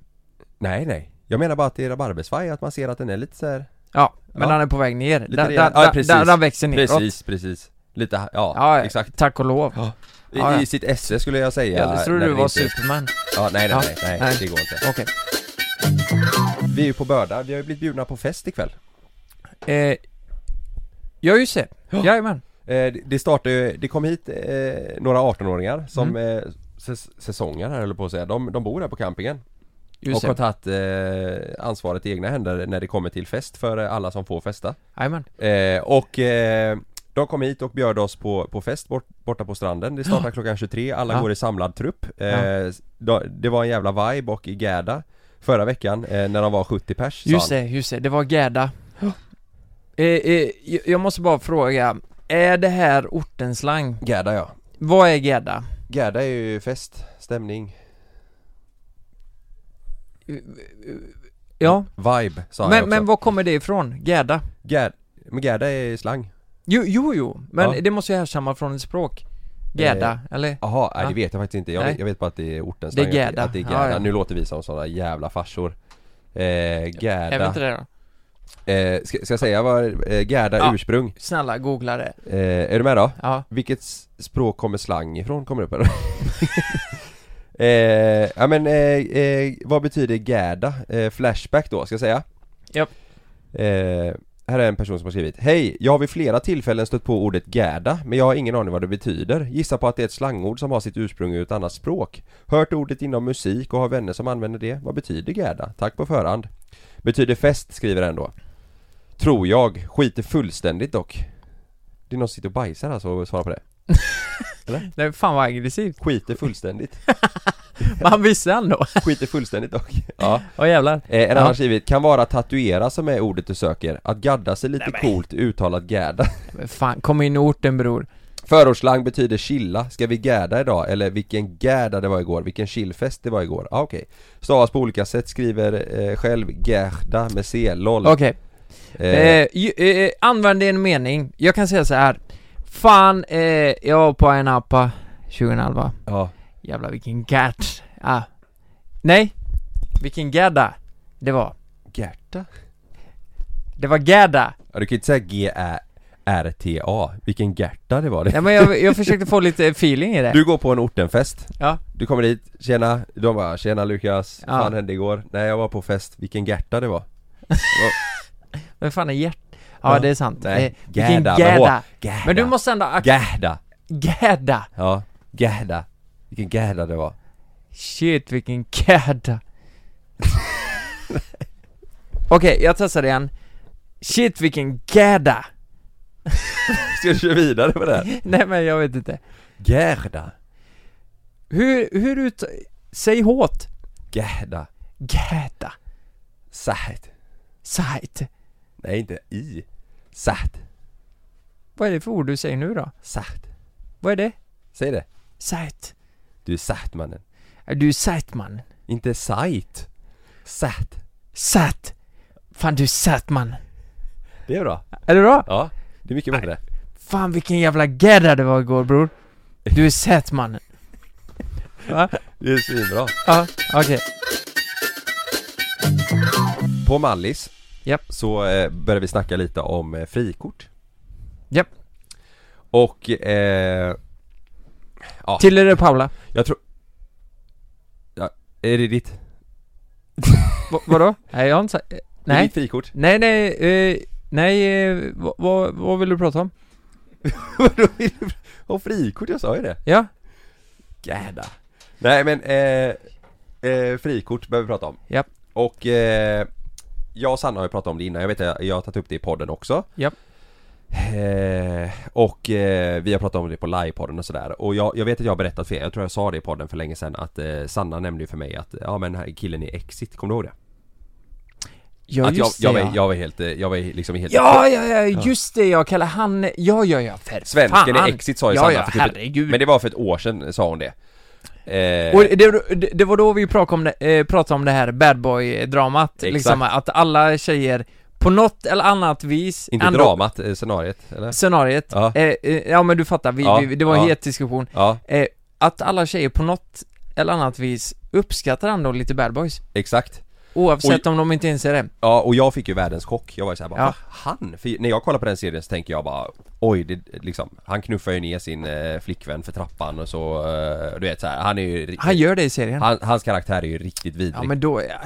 B: Nej nej, jag menar bara att det är rabarbersvaj, att man ser att den är lite så här.
A: Ja, men
B: Ja.
A: den är på väg ner. Den, den,
B: rejäl.
A: den,
B: Ja, precis.
A: den, den växer neråt.
B: Precis, precis Lite, ha- ja,
A: Ja, ja,
B: exakt
A: tack och lov.
B: Ja. I,
A: Ja, ja.
B: I sitt esse skulle jag säga
A: jag trodde
B: när
A: du
B: det
A: var
B: inte-
A: Superman.
B: Ja, nej nej
A: Ja.
B: nej, nej,
A: Nej.
B: det går inte
A: Okej.
B: Vi är ju på Börda, vi har ju blivit bjudna på fest ikväll
A: Eh, ja, just det. Jajamän.
B: Eh, det- Det startade ju, det kom hit eh, några 18-åringar som
A: Mm.
B: eh, säs- säsonger här höll jag på att säga, de, de bor här på campingen
A: Just
B: Och
A: det.
B: har tagit eh, ansvaret i egna händer när det kommer till fest för eh, alla som får festa
A: Jajamän.
B: eh, Och eh, de kom hit och bjöd oss på, på fest bort, borta på stranden Det startar klockan 23, alla
A: Ja.
B: går i samlad trupp eh,
A: Ja.
B: då- Det var en jävla vibe och i Gäda Förra veckan eh, när de var 70 pers sa
A: Just
B: han.
A: det, just det. Det var Gerda. Eh, eh, jag- jag måste bara fråga, är det här ortenslang?
B: Gäda ja
A: Vad är Gerda?
B: Gäda är ju fest, stämning,
A: Ja,
B: vibe sa han
A: men,
B: också.
A: men var kommer det ifrån? Gerda?
B: Gär, men Gerda är slang.
A: Jo, jo, jo. men
B: Ja. Eh,
A: det måste ju härstamma från ett språk. Gerda, eller?
B: Jaha, nej,
A: Ja.
B: det vet jag faktiskt inte. Jag,
A: Nej.
B: vet, jag vet bara att det är ortens
A: Det är
B: slang, att
A: Gerda.
B: Att det är
A: Ja,
B: Gerda.
A: ja.
B: Nu låter vi som sådana jävla farsor. Eh,
A: Är vi
B: Gerda.
A: inte det då?
B: Eh, ska, ska jag säga vad eh, Gerda
A: Ja.
B: ursprung?
A: Snälla, googla det.
B: Eh, är du med då?
A: Ja.
B: Vilket s- språk kommer slang ifrån? Kommer upp här. eh, ja men eh, eh, vad betyder Gerda? Eh, flashback då, ska jag säga?
A: Japp.
B: Eh, här är en person som har skrivit Hej! Jag har vid flera tillfällen stött på ordet Gerda, men jag har ingen aning vad det betyder. Gissa på att det är ett slangord som har sitt ursprung ur ett annat språk. Hört ordet inom musik och har vänner som använder det. Vad betyder Gerda? Tack på förhand. Betyder fest, skriver den då. Tror jag. Skiter fullständigt dock. Det är någon som sitter och bajsar alltså och svarar på det.
A: Nej, fan vad aggressivt.
B: Skiter fullständigt.
A: Man visste ändå.
B: Skiter fullständigt dock. Ja.
A: Åh jävlar.
B: Eh, en
A: Ja.
B: annan har skrivit, kan vara tatuera som är ordet du söker. Att gadda sig lite coolt uttalat gäda.
A: Men fan, kom in i orten bror.
B: Förortsslang betyder chilla. Ska vi gäda idag? Eller vilken gäda det var igår? Vilken chillfest det var igår? Ah, okej. Stavas på olika sätt, skriver eh, själv Gerda med C, LOL.
A: Okej.
B: Eh,
A: Eh, ju- eh, använd en mening. Jag kan säga så här. Fan, eh, jag var på en appa 2011.
B: ja.
A: Jävlar vilken gärt. Ah. Nej, vilken gädda det var.
B: Gerda?
A: Det var gädda.
B: Ja, du kan ju inte säga G-R-T-A. Vilken Gerda det var.
A: Nej men jag, jag försökte få lite feeling i det.
B: Du går på en ortenfest.
A: Ja.
B: Du kommer dit, tjena, de bara 'Tjena Lukas,
A: Ja.
B: vad fan hände igår?' Nej jag var på fest, vilken Gerda det var
A: Men fan är hjärt... Ja,
B: Ja.
A: det är sant.
B: Nej,
A: Eh, vilken
B: gädda, men
A: gädda.
B: hå- gädda.
A: Men du måste ändå... Ak-
B: Gerda!
A: gädda.
B: Ja, Gerda Vilken Gerda det var
A: Shit vilken gädda. Okej, jag testar det igen. Shit vilken gädda.
B: Ska du köra vidare på det? här?
A: Nej men jag vet inte.
B: Gerda,
A: Hur, hur ut... Säg hårt.
B: Gerda,
A: Gädda.
B: Saht
A: Sajt.
B: Nej inte I, Saht,
A: Vad är det för ord du säger nu då?
B: Saht
A: Vad är det?
B: Säg det,
A: Sajt.
B: du är Saht mannen
A: Är du sajt man?
B: Inte Sajt, Saht
A: Satt. Fan du är satt man.
B: Det är bra,
A: Är det bra?
B: ja, det är mycket bättre
A: Fan vilken jävla gädda det var igår bror. Du är satt man. Va?
B: Det är svinbra
A: Ja, okej.
B: På Mallis
A: Japp.
B: Så eh, började vi snacka lite om eh, frikort
A: Japp.
B: Och eh,
A: Till är det Paula.
B: jag tror... Ja, är det ditt?
A: Va- vadå? nej, jag har inte sagt...
B: Det är
A: Nej.
B: ditt frikort?
A: Nej, nej, eh, nej, eh, vad, vad, vad vill du prata om?
B: Vadå vill du- Om frikort, jag sa ju det
A: Ja?
B: Gäda. Nej men, eh, eh, frikort behöver vi prata om.
A: Japp.
B: Och eh, jag och Sanna har ju pratat om det innan, jag vet att jag har tagit upp det i podden också.
A: Japp.
B: Eh, och eh, vi har pratat om det på livepodden och sådär. Och jag, jag vet att jag har berättat för er, jag tror jag sa det i podden för länge sedan att eh, Sanna nämnde ju för mig att, ja men här killen i Exit, kommer du ihåg det?
A: Ja,
B: att jag,
A: just
B: jag,
A: det,
B: var,
A: ja.
B: jag var helt, eh, jag var liksom helt
A: Ja, ja, ja, just det, jag kallar han... Ja, ja, ja, för
B: Svensken
A: fan.
B: i Exit sa ju
A: ja,
B: Sanna
A: ja,
B: för typ
A: herregud.
B: Men det var för ett år sedan sa hon det. Eh,
A: Och det, det- det var då vi pratade om det, eh, pratade om det här bad boy dramat
B: Exakt.
A: liksom, att alla tjejer på något eller annat vis
B: inte
A: ändå-
B: dramat, eh, scenariet eller?
A: Scenariet,
B: Ja.
A: ja. Eh, eh, ja men du fattar, vi,
B: Ja,
A: vi, det var en
B: ja.
A: het diskussion
B: Ja,
A: eh, Att alla tjejer på något eller annat vis uppskattar ändå lite bad boys
B: exakt.
A: Oavsett om de inte inser det
B: Ja och jag fick ju världens chock, jag var ju såhär bara
A: Ja.
B: "Va, han? För när jag kollar på den serien så tänker jag bara Oj, det, liksom, han knuffar ju ner sin eh, flickvän för trappan och så, eh, du vet såhär, han är ju ri-
A: Han gör det i serien
B: han, Hans karaktär är ju riktigt vidrig
A: Ja
B: men...
A: men då, ja,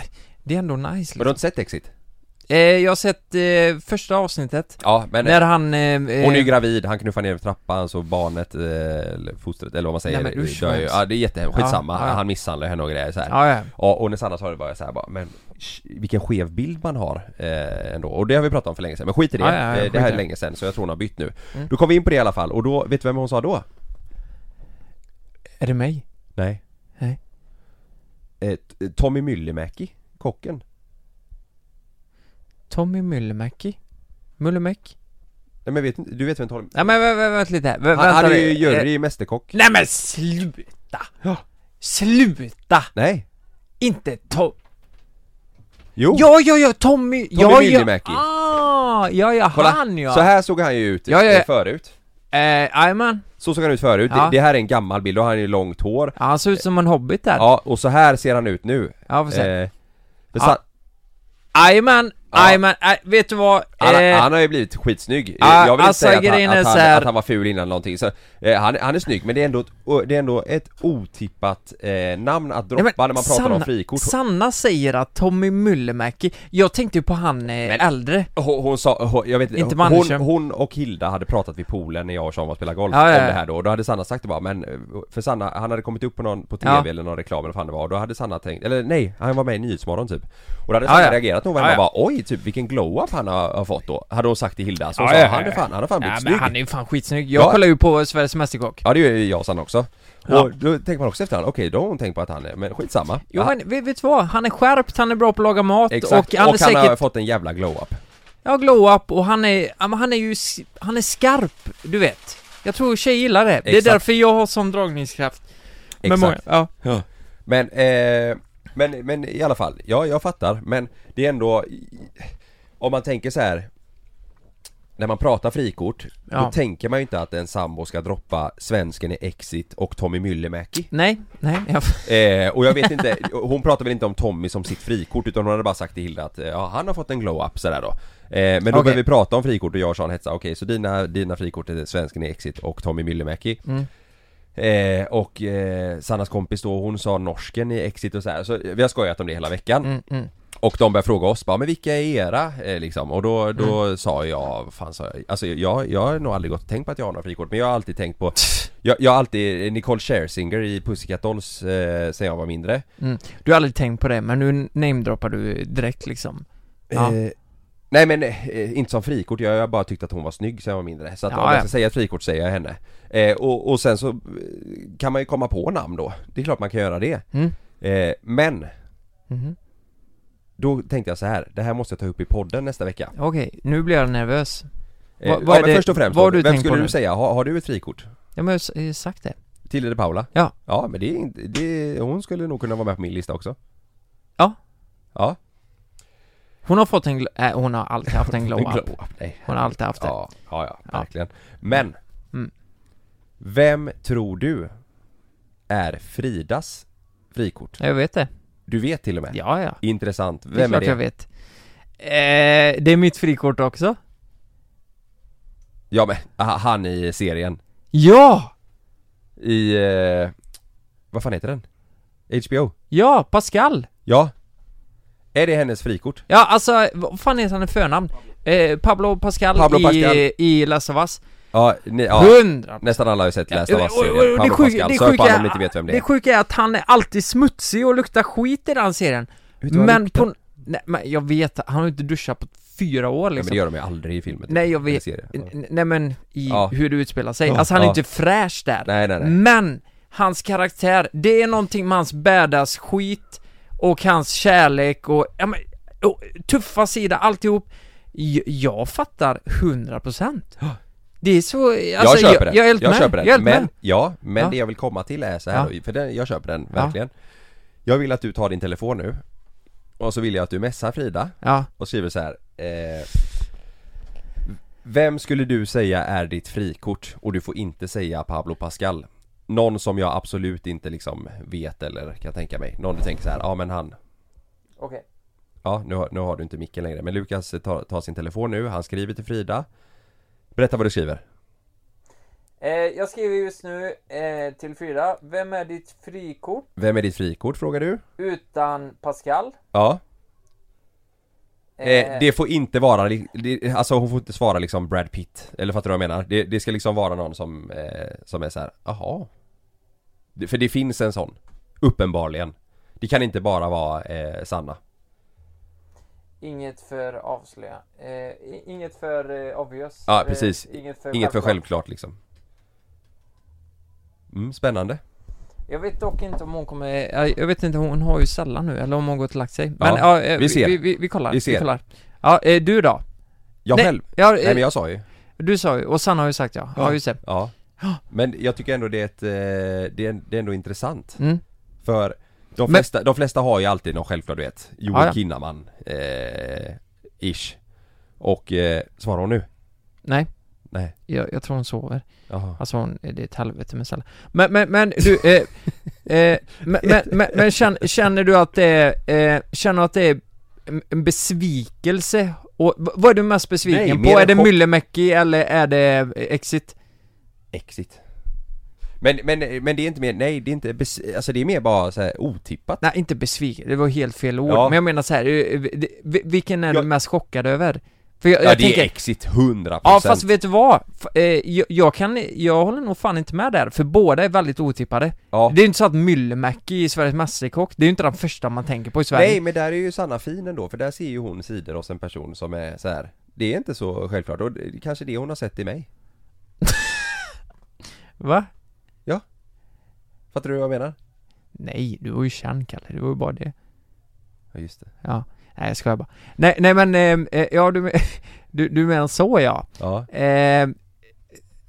A: det är ändå nice
B: du har
A: liksom.
B: inte sett Exit?
A: eh, Jag har sett eh, första avsnittet
B: Ja men
A: När han... Eh,
B: hon är ju
A: eh,
B: gravid, han knuffar ner för trappan så barnet, eh, eller fostret eller vad man säger,
A: Nej, men usch,
B: dör
A: vad
B: ju.
A: hemskt.
B: Ja det är jättehemskt, skitsamma,
A: Ja, ja.
B: han misshandlar henne och grejer så här.
A: ja, ja.
B: Ja och när Sanna sa det var jag såhär bara, men sh- vilken skev bild man har eh, ändå och det har vi pratat om för länge sedan men skit i det,
A: Ja, ja, ja,
B: Eh,
A: skit
B: det
A: i
B: här är
A: det. Mm.
B: länge sedan så jag tror hon har bytt nu Då kom vi in på det i alla fall och då, vet du vem hon sa då?
A: Är det mig?
B: Nej
A: Nej.
B: eh, t- Tommy Myllymäki, kocken
A: Tommy Myllymäki? Myllymäck?
B: Nej men vet inte- du vet vem Tommy...
A: Nej men vä- vä- vänta lite här, Vä-
B: Han,
A: vänta
B: han är
A: nu.
B: ju jury
A: Eh,
B: i Mästerkock
A: Nej men sluta! Sluta!
B: Nej!
A: Inte Tom...
B: Jo!
A: Ja, ja, ja, Tommy!
B: Tommy
A: ja,
B: Myllymäki.
A: Ja, ah, ja, ja,
B: Kolla.
A: han ja!
B: Så här såg han ju ut
A: Ja, ja,
B: eh,
A: ja.
B: förut
A: Eh, Jajamän,
B: Så såg han ut förut,
A: Ja.
B: det, det här är en gammal bild, då har han ju långt hår
A: ja, han ser ut som en hobbit där. Ja,
B: Ja och så här ser han ut nu
A: får se.
B: Eh, men
A: Ja.
B: Sa-
A: Jajamän,
B: Ja.
A: jajamän, nej, vet du vad?
B: Han,
A: Eh,
B: han har ju blivit skitsnygg. Eh,
A: ah,
B: jag vill
A: alltså,
B: inte säga att
A: grejen
B: han,
A: är
B: att,
A: så
B: han,
A: här-
B: att han var ful innan någonting. Så, eh, han, han är snygg men det är ändå ett, o- det är ändå ett otippat eh, namn att droppa
A: nej, men
B: när man pratar om
A: Sanna-
B: frikort.
A: Sanna säger att Tommy Myllymäki, jag tänkte ju på han eh,
B: Men-
A: äldre.
B: Hon, hon sa, hon, jag vet
A: Inte
B: hon, hon,
A: Mannerström.
B: hon och Hilda hade pratat vid poolen när jag och Sean var och spelade golf
A: Ja, ja,
B: om
A: ja.
B: det här då och då hade Sanna sagt det bara men, eh, för Sanna, han hade kommit upp på någon, på TV
A: Ja.
B: eller någon reklam eller vad fan det var och då hade Sanna tänkt, eller nej, han var med i Nyhetsmorgon typ Och då hade
A: Ja,
B: Sanna
A: ja.
B: reagerat när hon var
A: Ja,
B: hemma
A: ja.
B: och bara oj typ vilken glow-up han har, har fått då, hade hon sagt till Hilda så hon
A: Ja,
B: sa
A: ja, ja,
B: han är
A: ja.
B: fan, han har fan blivit
A: Ja, men
B: snygg
A: han är ju fan skitsnygg. Jag
B: Ja.
A: kollar ju på Sveriges Mästerkock.
B: Ja det gör ju jag och Sanna också.
A: Ja.
B: Och då tänker man också efterhand, okej då har hon tänkt på att han är, men skitsamma.
A: Jo
B: Ja,
A: men vet, vet du vad? Han är skärpt, han är bra på att laga mat
B: Exakt,
A: och han är säkert...
B: har fått en jävla glow-up.
A: Ja, glow-up och han är... ja, men Han är ju... s- Han är skarp, du vet. Jag tror tjejer gillar det. Det är
B: Exakt.
A: därför jag har sån dragningskraft. med
B: Exakt.
A: många- ja.
B: Men, eh, men, men i alla fall, ja jag fattar, men det är ändå Om man tänker så här När man pratar frikort, då
A: Ja.
B: tänker man ju inte att en sambo ska droppa svensken i Exit och Tommy Myllymäki
A: Nej, nej, jag...
B: Eh, och jag vet inte, hon pratar väl inte om Tommy som sitt frikort utan hon hade bara sagt till Hilda att eh, ja, han har fått en glow-up sådär då eh, Men då
A: Okej.
B: började vi prata om frikort och jag och Sean hetsade, okej så dina, dina frikort är svensken i Exit och Tommy Myllymäki Eh, och eh, Sannas kompis då, hon sa norsken i Exit och så här. så vi har skojat om det hela veckan Och de började fråga oss bara, men vilka är era? Eh, liksom. Och då, då sa jag, vad fan sa jag? Alltså jag, jag har nog aldrig gått och tänkt på att jag har några frikort Men jag har alltid tänkt på Jag, jag har alltid, Nicole Scherzinger i Pussycat Dolls eh, sen jag var mindre
A: Mm. Du har aldrig tänkt på det, men nu namedroppar du direkt liksom. Ja.
B: eh, Nej men eh, inte som frikort, jag har bara tyckt att hon var snygg sen jag var mindre Så att
A: Ja,
B: om jag
A: ja.
B: ska säga ett frikort säger jag henne eh, och, och sen så eh, kan man ju komma på namn då Det är klart man kan göra det
A: Mm.
B: eh, Men
A: Mhm.
B: Då tänkte jag så här, det här måste jag ta upp i podden nästa vecka
A: Okej, nu blir jag nervös.
B: eh,
A: Vad- vad
B: ja,
A: är
B: men
A: det-
B: först och främst,
A: vad har
B: då,
A: du
B: vem
A: tänkt på
B: skulle du
A: nu?
B: säga, har, har du ett frikort?
A: Ja, men jag har ju sagt det.
B: Till Lille Paula?
A: Ja.
B: Ja men det är inte, det, hon skulle nog kunna vara med på min lista också
A: Ja.
B: Ja,
A: Hon har fått en... Gl- äh, hon har alltid haft en
B: en
A: glow-up.
B: glow-up, nej
A: Hon har alltid haft det.
B: Ja, ja, ja,
A: Ja.
B: verkligen. Men!
A: Mm.
B: Vem tror du är Fridas frikort?
A: Jag vet det.
B: Du vet till och med?
A: Ja, ja.
B: Intressant,
A: Det är
B: vem är
A: klart
B: det?
A: jag vet. Eh, det är mitt frikort också.
B: Ja men, aha, han i serien
A: Ja!
B: I, eh, vad fan heter den? HBO?
A: Ja, Pascal!
B: Ja Är det hennes frikort?
A: Ja, alltså, vad fan är han i förnamn? Eh, Pablo Pascal,
B: Pablo
A: i,
B: Pascal.
A: i Last of Us.
B: Ja, ni, ja
A: Hundra
B: nästan alla har ju sett Last
A: Och-
B: of
A: och- och
B: Us-serien,
A: det
B: Pablo
A: sjuka-
B: Pascal,
A: det
B: sök på
A: sjuka-
B: honom om ni inte vet vem det
A: Det
B: är
A: sjuka är att han är alltid smutsig och luktar skit i den serien.
B: du vad han
A: Men på... Nej, men jag vet, han har ju inte duschat på fyra år
B: Ja,
A: liksom.
B: men det gör de ju aldrig i filmen typ.
A: Nej jag
B: Eller
A: vet,
B: serien. Ja.
A: n- nej men i
B: Ja.
A: hur det utspelar sig, alltså han är
B: Ja.
A: inte fräsch där
B: Nej, nej, nej.
A: Men, hans karaktär, det är någonting med hans badass skit och hans kärlek och, ja men, och tuffa sida, alltihop J- Jag fattar 100% Det är så, alltså,
B: jag köper den,
A: jag, är helt
B: jag
A: med.
B: köper den.
A: Jag är helt
B: men,
A: med.
B: ja, men
A: Ja.
B: det jag vill komma till är så här
A: Ja.
B: då, för den, jag köper den verkligen Jag vill att du tar din telefon nu Och så vill jag att du messar Frida
A: Ja,
B: och skriver så här. Eh, vem skulle du säga är ditt frikort? Och du får inte säga Pablo Pascal Någon som jag absolut inte liksom vet eller kan tänka mig Någon du tänker så här, ja men han
A: okej
B: Ja, nu, har- nu har du inte micken längre Men Lukas tar, tar sin telefon nu, han skriver till Frida Berätta vad du skriver
A: Eh, Jag skriver just nu eh, till Frida, vem är ditt frikort
B: Vem är ditt frikort frågar du?
A: utan Pascal?
B: Ja Eh, det får inte vara, li- det, alltså hon får inte svara liksom Brad Pitt, eller fattar du vad jag menar? Det, det ska liksom vara någon som, eh, som är så här, jaha? Det- För det finns en sån, uppenbarligen Det kan inte bara vara eh, Sanna
A: Inget för avslöja. Eh, i- inget för eh, obvious.
B: Ja precis,
A: Eh, inget för,
B: inget för
A: självklart.
B: självklart liksom mm, Spännande
A: Jag vet dock inte om hon kommer... ja, Jag vet inte, hon har ju sällan nu, eller om hon gått och lagt sig. Men
B: Ja,
A: ja, eh,
B: vi ser.
A: Vi, vi, vi kollar.
B: Vi
A: Vi,
B: ser.
A: kollar. Ja, eh, du då?
B: Jag
A: Nej,
B: själv?
A: Ja, eh,
B: Nej men jag sa ju,
A: Du sa ju, och Sanna har ju sagt ja. Ja, just det.
B: ja Men jag tycker ändå det är ett, eh, det är, det är ändå intressant
A: Mm.
B: För de
A: Men- Ah,
B: flesta, de flesta har ju alltid någon självklar du vet Joel
A: Ja, ja.
B: Kinnaman eh, Ish Och eh, svarar hon nu?
A: Nej.
B: Nej.
A: Jag, jag tror hon sover.
B: Jaha
A: Alltså hon, det är ett helvete med sällan. Men, men, men du, eh, eh, men, men, men, men känner, känner du att det är, eh, känner du att det är en- en besvikelse? Och, v- vad är du mest
B: Nej,
A: besviken
B: mer
A: på? Är
B: en
A: det
B: chock.
A: Myllymäki eller är det eh, Exit?
B: Exit men, men, men det är inte mer, nej det är inte, bes- alltså det är mer bara så här otippat
A: Nej, inte besviken, det var helt fel ord.
B: Ja.
A: Men jag menar så här, eh, vi- vi- vilken är
B: Ja.
A: du mest chockad över? För jag,
B: Ja
A: jag
B: det är
A: tänker,
B: exit, 100%
A: ja fast vet du vad? F- eh, jag, jag kan, jag håller nog fan inte med där, för båda är väldigt otippade.
B: Ja.
A: Det är ju inte så att Myllymäki i Sveriges Mästerkock, det är ju inte den första man tänker på i Sverige.
B: Nej men där är ju Sanna fin ändå, för där ser ju hon sidor hos en person som är så här. Det är inte så självklart, och det, kanske det hon har sett i mig
A: Va?
B: Fattar du vad jag menar?
A: Nej, du var ju känd Kalle, det var ju bara det.
B: Ja just det
A: Ja. Nej, jag skojar bara. Nej, nej men, eh, eh, ja du, du, du menar så ja.
B: Ja,
A: Eh,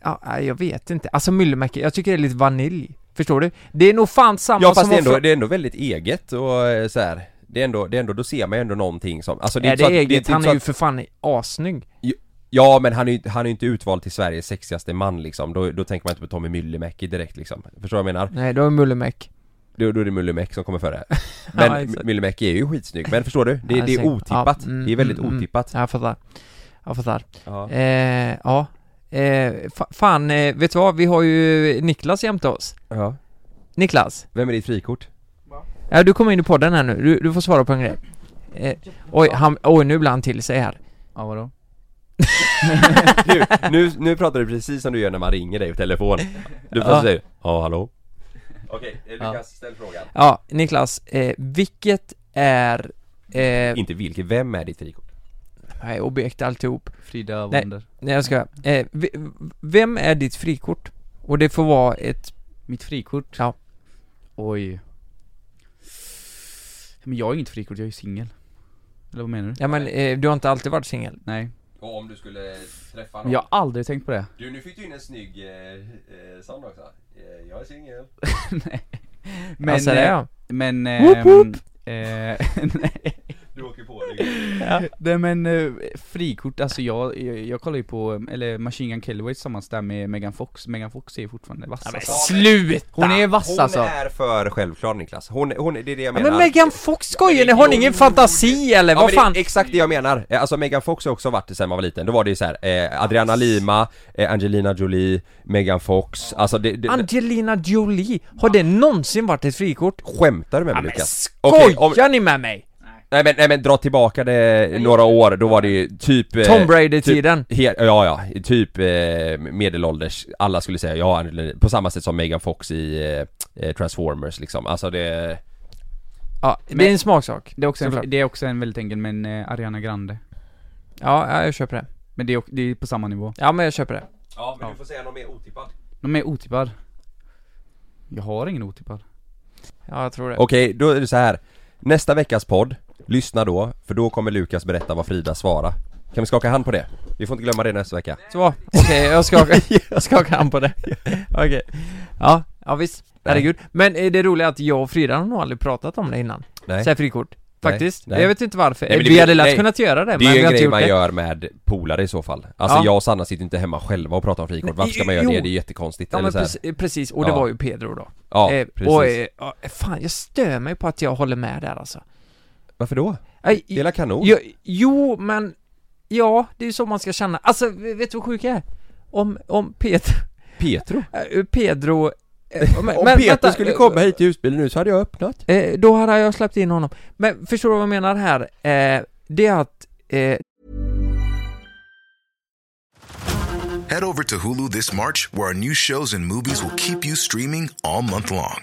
A: ja, nej, jag vet inte. Alltså myllymäcka, jag tycker det är lite vanilj. Förstår du? Det är nog fan samma
B: ja fast
A: som
B: det är,
A: att
B: ändå,
A: frå-
B: det är ändå väldigt eget och eh, så här. Det är ändå, det är ändå, då ser man ju ändå någonting som, alltså det är,
A: Nej, det
B: inte
A: är
B: så att,
A: eget,
B: det är
A: han
B: inte
A: är
B: så
A: ju
B: att,
A: för fan assnygg.
B: Ja men han är ju han är ju inte utvald till Sveriges sexigaste man liksom, då, då tänker man inte på Tommy Myllymäki direkt liksom Förstår du vad jag menar?
A: Nej, då är Mullemäck.
B: Då, då är det Myllymäki som kommer före
A: Ja,
B: Men
A: exakt.
B: Myllymäki är ju skitsnygg, men förstår du? Det,
A: Ja,
B: det är
A: snygg.
B: otippat,
A: Ja, mm,
B: det är väldigt
A: mm, mm.
B: otippat
A: Ja, jag fattar. Jag fattar.
B: ja.
A: Eh, ja. Eh, fa- fan, eh, vet du vad? Vi har ju Niklas jämte oss.
B: ja
A: Niklas,
B: Vem är ditt frikort?
A: ja, du kommer in i podden här nu. Du, du får svara på en grej. Eh, oj, han, oj, nu blir han till sig här.
F: Ja vadå?
B: Nu, nu, nu pratar du precis som du gör när man ringer dig på telefon Du får
A: Ja.
B: säga ja hallå Okej, eh, Lukas ställ frågan
A: Ja, Niklas, eh, vilket är... Eh,
B: Inte vilket, vem är ditt frikort?
A: nej, objekt alltihop.
F: Frida
A: Nej.
F: Wonder
A: Nej jag ska. Eh, v- vem är ditt frikort? Och det får vara ett...
F: Mitt frikort?
A: Ja.
F: Oj Men jag är inget frikort, jag är ju singel Eller vad menar du?
A: Ja men eh, du har inte alltid varit singel.
F: Nej,
B: Och om du skulle träffa
F: men jag har aldrig tänkt på det
B: Du, nu fick du in en snygg eh, eh, sån också. Eh, jag är singel.
F: Men,
A: alltså, det
F: eh,
A: är jag.
F: men... ehm, eh, nej.
B: Du åker på det.
F: Nej men eh, frikort, alltså jag, jag, jag kollar ju på, eh, eller Machine Gun Kelly var ju tillsammans där med Megan Fox, Megan Fox är ju fortfarande vass alltså.
A: Sluta!
F: Hon är vass
B: Hon
F: alltså!
B: är för självklar Niklas, hon, hon, det är det jag menar
A: Men Megan Fox skojar ni? Har ni ingen fantasi eller?
B: Ja,
A: Vad
B: men
A: fan?
B: Det är exakt det jag menar. Eh, Alltså Megan Fox har också varit det sen man var liten. Då var det ju så här, eh, Adriana Lima, eh, Angelina Jolie, Megan Fox. Alltså det, det,
A: Angelina Jolie, har det någonsin varit ett frikort?
B: Skämtar du med
A: Ja,
B: mig
A: men
B: Lukas? Okej,
A: skojar
B: om,
A: ni med mig?
B: nej, men, nej men dra tillbaka det några år, då var det ju typ... eh,
A: Tom Brady-tiden.
B: Typ, he, ja ja, typ eh, medelålders. Alla skulle säga ja, Angelina- på samma sätt som Megan Fox i eh, eh, Transformers liksom. Alltså det...
A: Ja, det är en smaksak.
F: Det är, också
A: Såklart.
F: en, det är också en väldigt enkel men eh, Ariana Grande
A: Ja, ja, jag köper det.
F: Men det är, ock- det är på samma nivå
A: Ja, men jag köper det.
B: Ja men du får säga något mer otippat.
F: De är otippad Jag har ingen otippad
A: Ja, jag tror det.
B: Okej, då är det så här. Nästa veckas podd, lyssna då, för då kommer Lukas berätta vad Frida svarade. Kan vi skaka hand på det? Vi får inte glömma det nästa vecka.
A: Så, okej, jag skakar, jag skakar hand på det. Okej. Ja, ja visst. Herregud. Men eh, det roliga är att jag och Frida har nog aldrig pratat om det innan.
B: Nej.
A: Så här frikort. Faktiskt.
B: nej.
A: Jag vet inte varför. Eh,
B: Nej, men det
A: vi
B: blir-
A: hade lätt
B: nej.
A: kunnat göra det,
B: Det
A: men
B: är
A: vi
B: ju
A: har
B: en
A: inte
B: grej
A: gjort
B: man
A: det.
B: gör med polare i så fall. Alltså
A: Ja.
B: jag och Sanna sitter inte hemma själva och pratar om frikort. Varför ska man göra
A: Jo.
B: det? Det är jättekonstigt.
A: Ja men
B: Eller så här.
A: precis, eh, precis. och det
B: Ja.
A: var ju Pedro då.
B: Ja,
A: Eh,
B: precis.
A: Och, eh, ja, fan, jag stör mig på att jag håller med där alltså.
B: Varför då?
A: Nej,
B: Hela kanon?
A: Jo, jo, men... Ja, det är ju så man ska känna. Alltså, vet du vad sjukt är? Om, om Pedro...
B: Petro?
A: eh, Pedro... eh, men-
B: Om
A: men
B: Petro
A: vänta,
B: skulle
A: eh,
B: komma hit i ljusbilen nu så hade jag öppnat.
A: eh, Då hade jag släppt in honom. Men förstår du vad jag menar här? Eh, Det är att... eh,
G: Head over to Hulu this March, where our new shows and movies will keep you streaming all month long.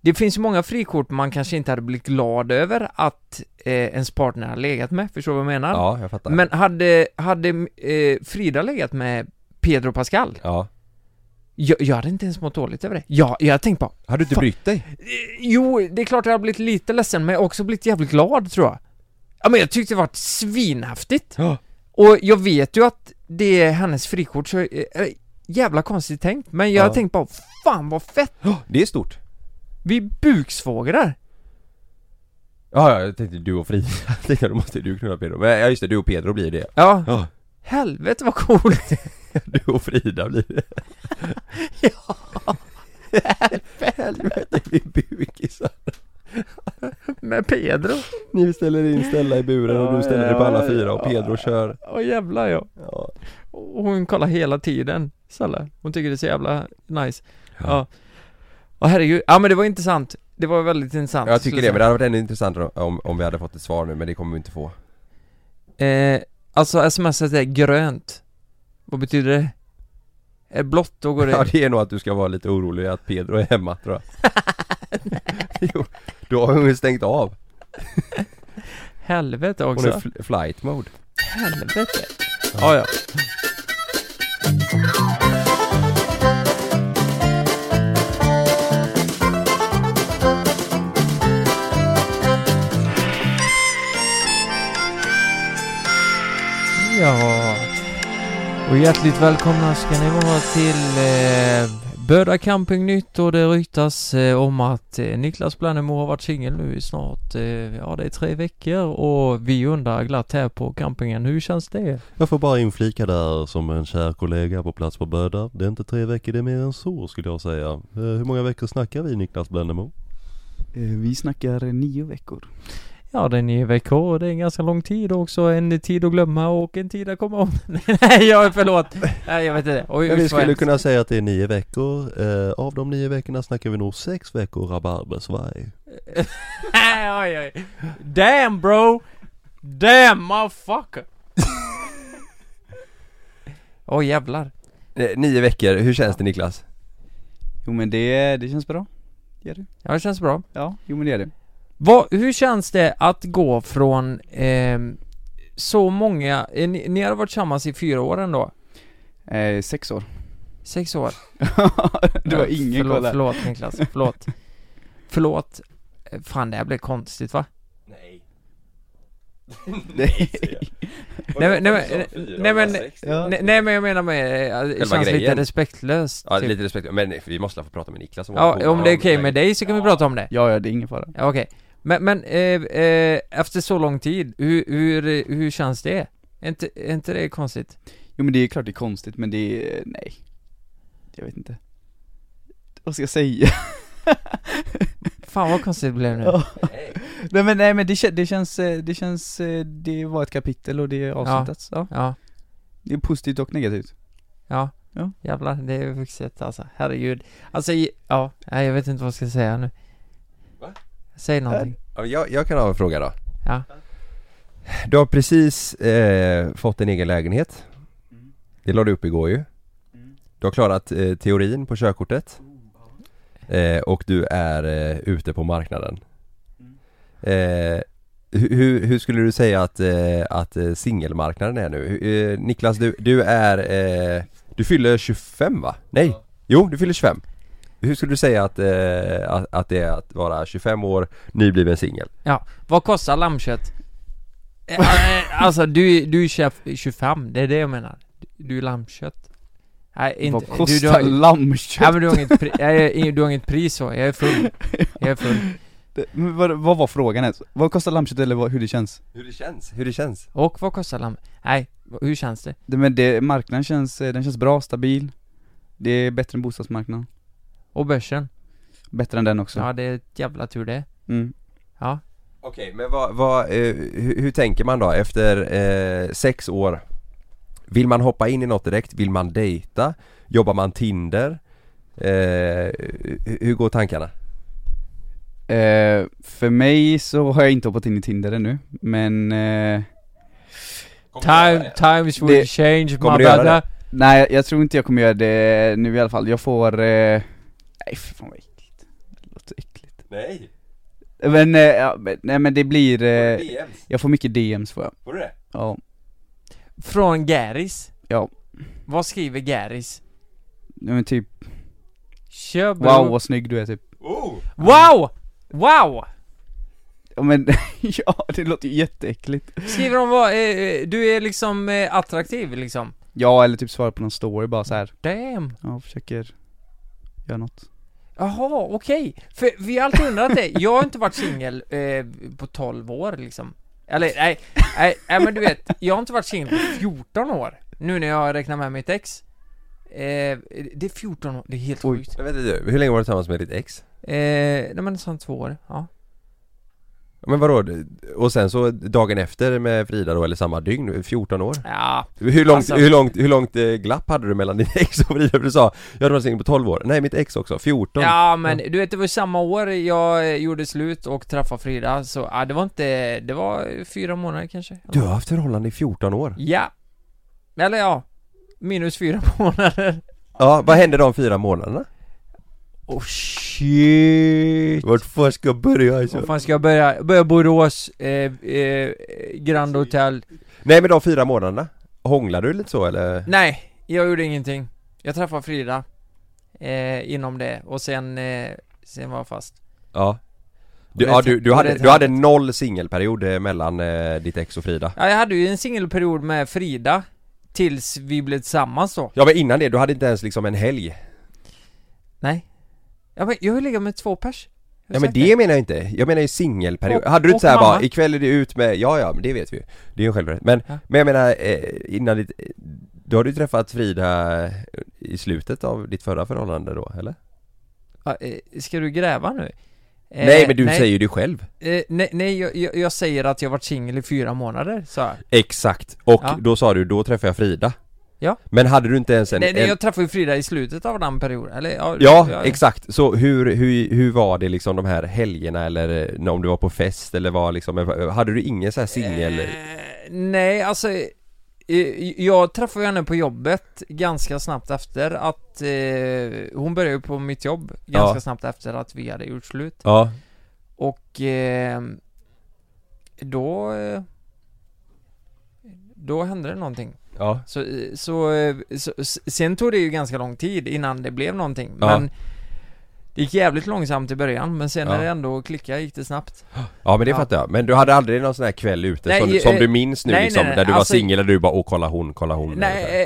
A: Det finns ju många frikort man kanske inte hade blivit glad över att eh, ens partner hade legat med. Förstår du vad jag menar?
B: ja, jag fattar.
A: Men hade, hade eh, Frida legat med Pedro Pascal?
B: Ja.
A: Jag, jag hade inte ens mått dåligt över det. Jag, jag tänkte bara,
B: Har du inte
A: Fan.
B: brytt dig?
A: eh, jo, det är klart jag har blivit lite ledsen, men jag har också blivit jävligt glad tror jag. Ja men jag tyckte det var svinhäftigt.
B: Ja.
A: Och jag vet ju att det är hennes frikort, så, eh, eh, jävla konstigt tänkt, men jag
B: Ja.
A: har tänkt bara, fan vad fett!
B: Det är stort.
A: Vi är buksvågrar!
B: Ja, ja, jag tänkte du och Frida. Jag tänkte då måste du knulla Pedro. Men ja, just det, du och Pedro blir det.
A: Ja.
B: Ja.
A: Helvete vad coolt!
B: Du och Frida blir det.
A: ja.
B: Helvete, vi är bukisar.
A: Med Pedro.
B: Ni ställer in Stella i buren och du ställer dig på alla fyra och Pedro kör.
A: Åh jävlar ja.
B: Ja.
A: Och hon kollar hela tiden, Salla. Hon tycker det är så jävla nice.
B: Ja.
A: Ja. Ja, herregud. Ja men det var intressant. Det var väldigt intressant.
B: Jag tycker
A: skulle
B: det,
A: jag
B: men det hade varit ännu intressantare om, om vi hade fått ett svar nu, men det kommer vi inte få.
A: säga. Eh, alltså smset är grönt. Vad betyder det? Är blått, då går det...
B: Ja, det är nog att du ska vara lite orolig att Pedro är hemma tror jag. jo, då har hon ju stängt av.
A: Helvete
B: Hon är
A: också.
B: fl- flight mode.
A: Helvete. Ja, ja. Ja, och hjärtligt välkomna ska ni vara till eh, Böda Campingnytt och det ryktas eh, om att eh, Niklas Blannemo har varit singel nu i snart, eh, ja det är tre veckor och vi undrar glatt här på campingen, hur känns det?
H: Jag får bara inflika där som en kär kollega på plats på Böda. Det är inte tre veckor, det är mer än så skulle jag säga. Eh, Hur många veckor snackar vi Niklas Bländemo?
F: Eh, Vi snackar nio veckor
A: Ja det är nio veckor och det är en ganska lång tid också, en tid att glömma och en tid att komma om. Nej jag är förlåt, nej jag vet inte. Oj,
H: Men vi
A: usch, vad
H: skulle
A: hemskt.
H: kunna säga att det är nio veckor. Eh, Av de nio veckorna snackar vi nog sex veckor rabarbersvaj.
A: oj, oj. Damn bro! Damn motherfucker! Åh jävlar.
B: Eh, Nio veckor, hur känns det Niklas?
F: Jo men det, det känns bra
A: Ja det känns bra.
F: Ja, jo men det är det
A: Vad, hur känns det att gå från ehm, så många, eh, ni, ni har varit tillsammans i fyra år ändå?
F: Eh, sex år.
A: Sex år?
F: det var
A: Eh,
F: ingen
A: förlåt,
F: koll där.
A: Förlåt Niklas, förlåt Förlåt Eh, Fan det här blev konstigt va?
B: Nej.
F: Nej.
A: Nej, men- nej, men- nej, men- Nej, nej men jag menar med, eh, det
B: Själva
A: känns lite
B: grejen.
A: respektlöst
B: Ja,
A: typ.
B: lite respekt. Men vi måste få prata med Niklas om
A: ja om det är okej med dig så kan vi prata om det
F: Ja, ja, det är ingen fara.
A: Ja okej Men, men eh, eh, efter så lång tid, hur, hur, hur känns det? Är inte, är inte det konstigt?
F: Jo men det är klart det är konstigt men det är, nej Jag vet inte Vad ska jag säga?
A: Fan vad konstigt det blev nu
F: Ja. nej men nej men det, kän- det känns, eh, det känns, eh, det var ett kapitel och det är avslutat ja.
A: Ja,
F: Det är positivt och negativt
A: ja
F: Ja.
A: Jävlar, det är vuxet alltså, herregud Alltså, i- ja, nej, jag vet inte vad jag ska säga nu
B: Va?
A: Säg någonting
B: Ja, jag, jag kan ha en fråga då.
A: Ja.
B: Du har precis eh, fått en egen lägenhet. Det la du upp igår ju. Du har klarat eh, teorin på körkortet. Eh, och du är eh, ute på marknaden. Eh, hu- hur, hur skulle du säga att, eh, att eh, singelmarknaden är nu? Hu- Eh, Niklas, du, du är... Eh, du fyller 25 va? Nej? Jo, du fyller 25. Hur skulle du säga att, eh, att, att det är att vara 25 år, nybliven singel?
A: Ja, vad kostar lammkött? Eh, eh, alltså du, du är tjugo- 25, det är det jag menar Du är lammkött Nej, inte,
F: Vad
A: du, du
F: kostar
A: har,
F: lammkött?
A: Nej men du har inget, pri- nej, jag- du har inget pris så, jag är full, jag är full
F: Det- men vad, vad var frågan ens? Vad kostar lammkött eller vad, hur det känns?
B: Hur det känns? Hur det känns?
A: Och vad kostar lamm? Nej, hur känns det?
F: Det, men det, marknaden känns, eh, den känns bra, stabil Det är bättre än bostadsmarknaden
A: Och börsen?
F: Bättre än den också
A: Ja det är ett jävla tur det
F: mm.
A: Ja,
B: Okej, men vad, vad, eh, hur, hur tänker man då efter eh, sex år? Vill man hoppa in i något direkt? Vill man dejta? Jobbar man Tinder? Eh, hur, hur går tankarna?
F: Eh, för mig så har jag inte hoppat in i Tinder ännu, men eh,
A: Time, times will
F: Det-
A: change my
B: Kommer du göra
A: brother
B: det?
F: Nej jag, jag tror inte jag kommer göra det nu i alla fall, jag får... Eh... Nej för fan vad äckligt, det låter äckligt
B: Nej,
F: Men, eh, ja, men, nej men det blir... Eh...
B: DMs,
F: Jag får mycket DMs får jag,
B: får du det?
F: ja
A: Från Garris?
F: Ja.
A: Vad skriver Garris?
F: Nej, men typ,
A: Kör bro.
F: wow vad snygg du är typ
B: Oh!
A: wow! Wow!
F: Ja men, ja det låter ju jätteäckligt
A: Skriver de vad, eh, eh, du är liksom eh, attraktiv liksom?
F: Ja eller typ svara på någon story bara så här.
A: Damn!
F: ja försöker göra något
A: Jaha, okej. För vi har alltid undrat det, jag har inte varit singel eh, på 12 år liksom. Eller nej, nej, nej men du vet, jag har inte varit singel på 14 år. Nu när jag räknar med mitt ex. Eh, det är 14 år, det är helt
F: Oj.
A: sjukt.
B: Men vet du, hur länge var du tillsammans med ditt ex?
A: Eh, nej men sånt två år, ja.
B: Men vadå, och sen så dagen efter med Frida då, eller samma dygn, 14 år?
A: Ja,
B: Hur långt,
A: Alltså-
B: hur långt, hur långt eh, glapp hade du mellan ditt ex och Frida? För Du sa, jag hade varit singel på 12 år, nej mitt ex också, 14
A: ja men du vet det var samma år jag eh, gjorde slut och träffade Frida så ja, det var inte, det var fyra månader kanske.
B: Du har haft förhållande i 14 år?
A: Ja. Eller ja, minus fyra månader.
B: Ja, vad hände de fyra månaderna?
A: Oh shit!
B: Vart fan ska jag börja
A: Vad
B: alltså?
A: fan ska jag börja? Börja Borås, eh, eh, Grand Hotel
B: Nej men de fyra månaderna, hånglade du lite så eller?
A: Nej, jag gjorde ingenting Jag träffade Frida eh, Inom det, och sen, eh, sen var jag fast
B: Ja du,
A: Och det
B: ja,
A: är
B: du,
A: te-
B: du,
A: och
B: hade,
A: det är
B: du hade noll singelperiod eh, mellan eh, ditt ex och Frida
A: Ja, jag hade ju en singelperiod med Frida Tills vi blev tillsammans då
B: Ja men innan det, du hade inte ens liksom en helg
A: Nej Ja men jag har legat med två pers Har
B: Ja
A: jag
B: men
A: sagt
B: det menar jag inte, jag menar ju singelperiod
A: Och-
B: Hade du inte
A: och
B: såhär bara,
A: mamma.
B: ikväll är det ut med, ja ja men det vet vi ju Det är ju en självrätt, men,
A: Ja.
B: men jag menar eh, innan ditt, då har du träffat Frida i slutet av ditt förra förhållande då eller?
A: Ja, eh, Ska du gräva nu? Eh,
B: nej men du
A: nej,
B: säger ju det själv
A: eh, Nej, nej jag, jag, jag säger att jag varit singel i fyra månader, sa jag
B: Exakt, och
A: Ja.
B: då sa du, då träffade jag Frida
A: Ja.
B: Men hade du inte ens en...
A: Nej, nej
B: en
A: jag träffade ju Frida i slutet av den perioden, eller ja,
B: ja, exakt, så hur, hur, hur var det liksom de här helgerna eller eh, om du var på fest eller var liksom, hade du ingen så här singel...
A: Eh, nej, alltså eh, jag träffade henne på jobbet ganska snabbt efter att eh, Hon började ju på mitt jobb ganska
B: Ja.
A: snabbt efter att vi hade gjort slut
B: Ja,
A: Och eh, Då eh, då hände det någonting.
B: Ja.
A: Så, så, eh, så, s- sen tog det ju ganska lång tid innan det blev någonting,
B: Ja.
A: men det gick jävligt långsamt i början, men sen
B: Ja.
A: när det ändå klickade gick det snabbt.
B: Ja men det
A: Ja.
B: fattar jag, men du hade aldrig någon sån här kväll ute
A: Nej,
B: som, du-
A: eh,
B: som du minns nu
A: nej,
B: liksom?
A: nej, nej.
B: Där du
A: Alltså-
B: var singel och du bara åh kolla hon, kolla hon eller, så här.
A: Nej, eh,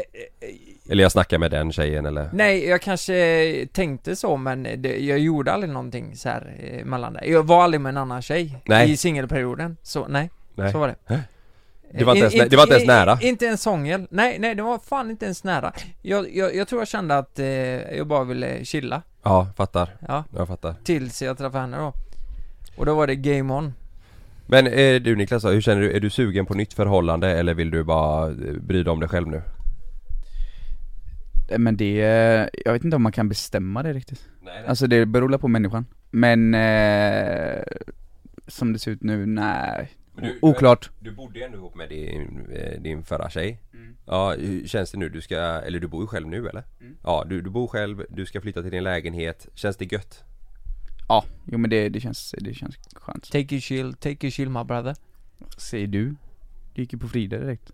A: eh,
B: eller jag snackar med den tjejen eller?
A: nej, jag kanske tänkte så, men det, jag gjorde aldrig någonting så här eh, mellan det. Jag var aldrig med en annan tjej
B: Nej.
A: i singelperioden, så nej,
B: Nej.
A: så var det.
B: Det var inte ens-
A: Eh,
B: det var inte ens
A: i-
B: nära.
A: Inte ens sångel. Nej, nej, det var fan inte ens nära. Jag, jag, jag tror jag kände att eh, jag bara ville chilla.
B: Ja, fattar.
A: Ja.
B: Jag fattar.
A: Tills jag träffade henne då Och då var det game on
B: Men eh, du Niklas då, hur känner du? Är du sugen på nytt förhållande eller vill du bara eh, bry dig om dig själv nu?
F: Eh, Men det, eh, jag vet inte om man kan bestämma det riktigt Alltså det beror på människan Men, eh, som det ser ut nu, nej
B: Men du-
F: Oklart
B: Du bodde ju ändå ihop med din, eh, din förra tjej. Ja, hur känns det nu? Du ska, eller du bor ju själv nu eller? Ja, du, du bor själv, du ska flytta till din lägenhet. Känns det gött?
F: Ja, jo men det, det känns, det känns skönt
A: Take your chill, take your chill my brother
F: Säger du? Du gick ju på Frida direkt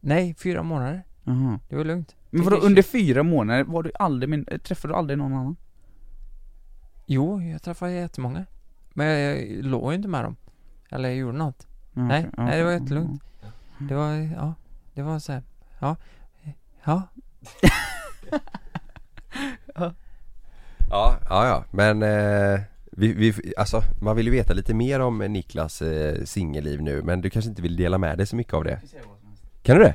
A: Nej, fyra månader,
F: Jaha
A: det var lugnt
F: Men vadå
A: Take your
F: under
A: chill.
F: fyra månader, var du aldrig min, eh, träffade du aldrig någon annan?
A: Jo, jag träffade jättemånga Men jag låg ju inte med dem Eller jag gjorde något
F: Ja,
A: Nej,
F: okej. Ja,
A: nej det var
F: okej. Mm.
A: jättelugnt Det var, ja, det var så här. ja Ja,
B: Ja, ja, ja. men eh, vi, vi, alltså, man vill ju veta lite mer om Niklas eh, singelliv nu men du kanske inte vill dela med dig så mycket av det? Kan du det?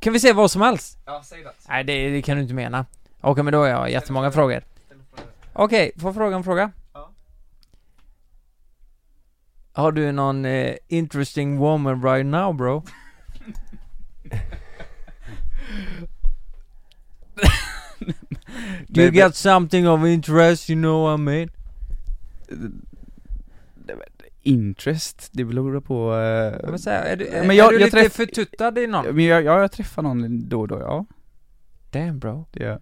A: kan vi se vad som helst?
F: Ja, säg det
A: Nej det, det kan du inte mena Okej men då har jag jättemånga frågor Okej, får fråga en fråga?
F: Ja.
A: Har du någon eh, interesting woman right now bro? Do you got something of interest, you know what I mean?
F: Interest, det beror på... eh,
A: Men, så här, är du,
F: Ja,
A: men jag, är du jag lite förtuttad i någon?
F: Men jag, ja, jag träffar någon då och då, ja
A: Damn bro
F: det gör jag.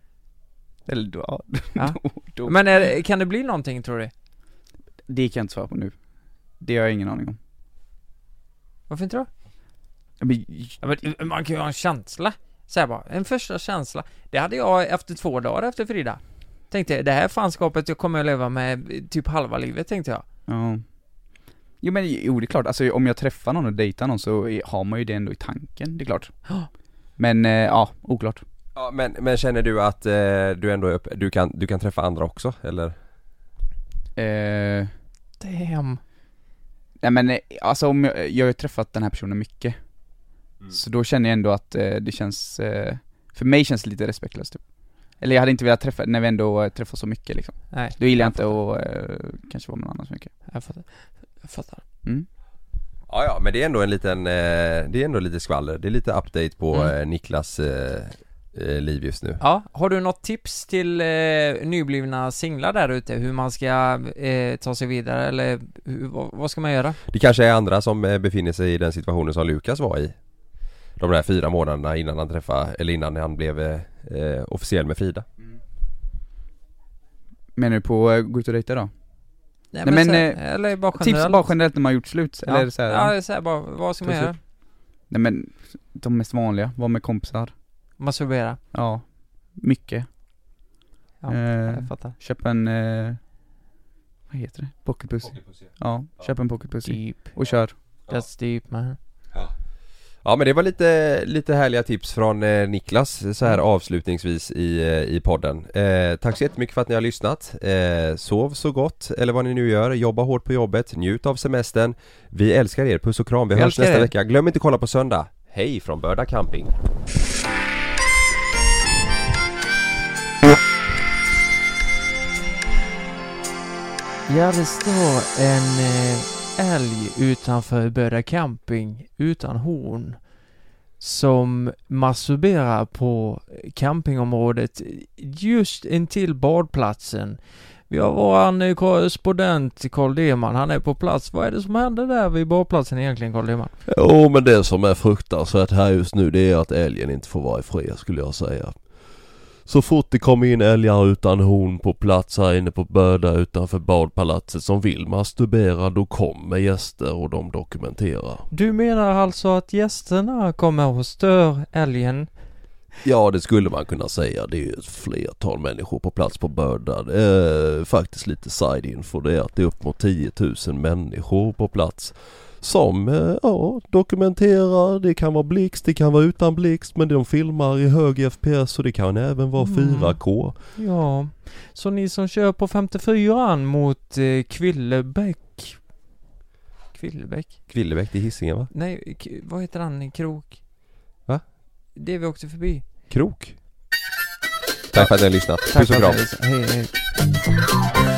F: Eller då, ja,
A: Ja.
F: då, då.
A: Men är, kan det bli någonting tror du?
F: Det kan jag inte svara på nu Det har jag ingen aning om
A: Varför inte då?
F: Men,
A: Ja, men, eh, man kan ju ha en känsla så här bara, en första känsla Det hade jag efter två dagar efter Frida Tänkte, det här fanskapet jag kommer att leva med eh, typ halva livet tänkte jag
F: ja Jo men jo det är klart, alltså om jag träffar någon och dejtar någon så är- har man ju det ändå i tanken, det är klart
A: Ja.
F: Men, eh, ja, oklart
B: Ja, men, men känner du att eh, du ändå är upp, du, kan, du kan träffa andra också eller?
F: eh,
A: Damn
F: Nej men eh, alltså om jag, jag har ju träffat den här personen mycket
A: Mm.
F: Så då känner jag ändå att eh, det känns, eh, för mig känns det lite respektlöst typ Eller jag hade inte velat träffa, när vi ändå eh, träffas så mycket liksom
A: Nej,
F: Då gillar jag inte att eh, kanske vara med någon annan så mycket
A: jag fattar Jag fattar
B: Ja, ja, men det är ändå en liten, eh, det är ändå lite skvaller. Det är lite update på
A: Mm.
B: eh, Niklas eh, eh, liv just nu.
A: Ja, har du något tips till eh, nyblivna singlar där ute? Hur man ska eh, ta sig vidare eller hur, vad, vad ska man göra?
B: Det kanske är andra som eh, befinner sig i den situationen som Lukas var i. De där fyra månaderna innan han träffade, eller innan han blev eh, eh, officiell med Frida.
F: Menar du på eh, gå ut och dejta då?
A: Nej,
F: Nej,
A: men,
F: men, eh,
A: så här, eller bara generellt
F: Tips bara generellt när man har gjort slut,
A: ja.
F: eller så här,
A: Ja, så här, bara, vad ska man
F: Precis.
A: göra?
F: Nej men, de mest vanliga, var med kompisar
A: Masturbera?
F: Ja, mycket
A: Ja,
F: Eh.
A: jag fattar
F: Köp en, eh, vad heter det? Pocketpussy Ja, köp en pocketpussy
A: Deep,
F: och kör
A: that's deep man
B: Ja men det var lite, lite härliga tips från eh, Niklas så här
A: Mm.
B: avslutningsvis i, eh, i podden. Eh, tack så jättemycket för att ni har lyssnat. Eh, sov så gott eller vad ni nu gör. Jobba hårt på jobbet. Njut av semestern. Vi älskar er. Puss och kram. Vi,
A: Vi
B: hörs
A: älskar
B: nästa
A: er.
B: vecka. Glöm inte att kolla på söndag. Hej från Börda Camping.
A: Ja, det står en eh, älg utanför Böda camping utan horn som masturberar på campingområdet just intill badplatsen. Vi har våran eh, korrespondent Carl Deman, han är på plats. Vad är det som händer där vid badplatsen egentligen Carl Deman?
H: Jo men det som är fruktansvärt här just nu det är att älgen inte får vara i fred skulle jag säga.
B: Så fort det kom in älgar utan horn på plats här inne på Böda utanför badpalatset som vill masturbera, då kommer gäster och de dokumenterar.
A: Du menar alltså att gästerna kommer och stör älgen?
B: Ja, det skulle man kunna säga. Det är ju ett flertal människor på plats på Börda. Det är faktiskt lite side-info det är att det är upp mot 10 000 människor på plats. Som, eh, ja, dokumenterar, det kan vara blixt, det kan vara utan blixt men de filmar i hög FPS och det kan även vara
A: Mm.
B: 4K.
A: Ja, så ni som kör på 54an mot eh, Kvillebäck Kvillebäck?
I: Kvillebäck, det är Hisingen va?
A: Nej, k- vad heter han i krok?
I: Va?
A: Det vi åkte förbi
I: Krok? Tack för att ni har lyssnat. Puss och kram.
A: Hej hej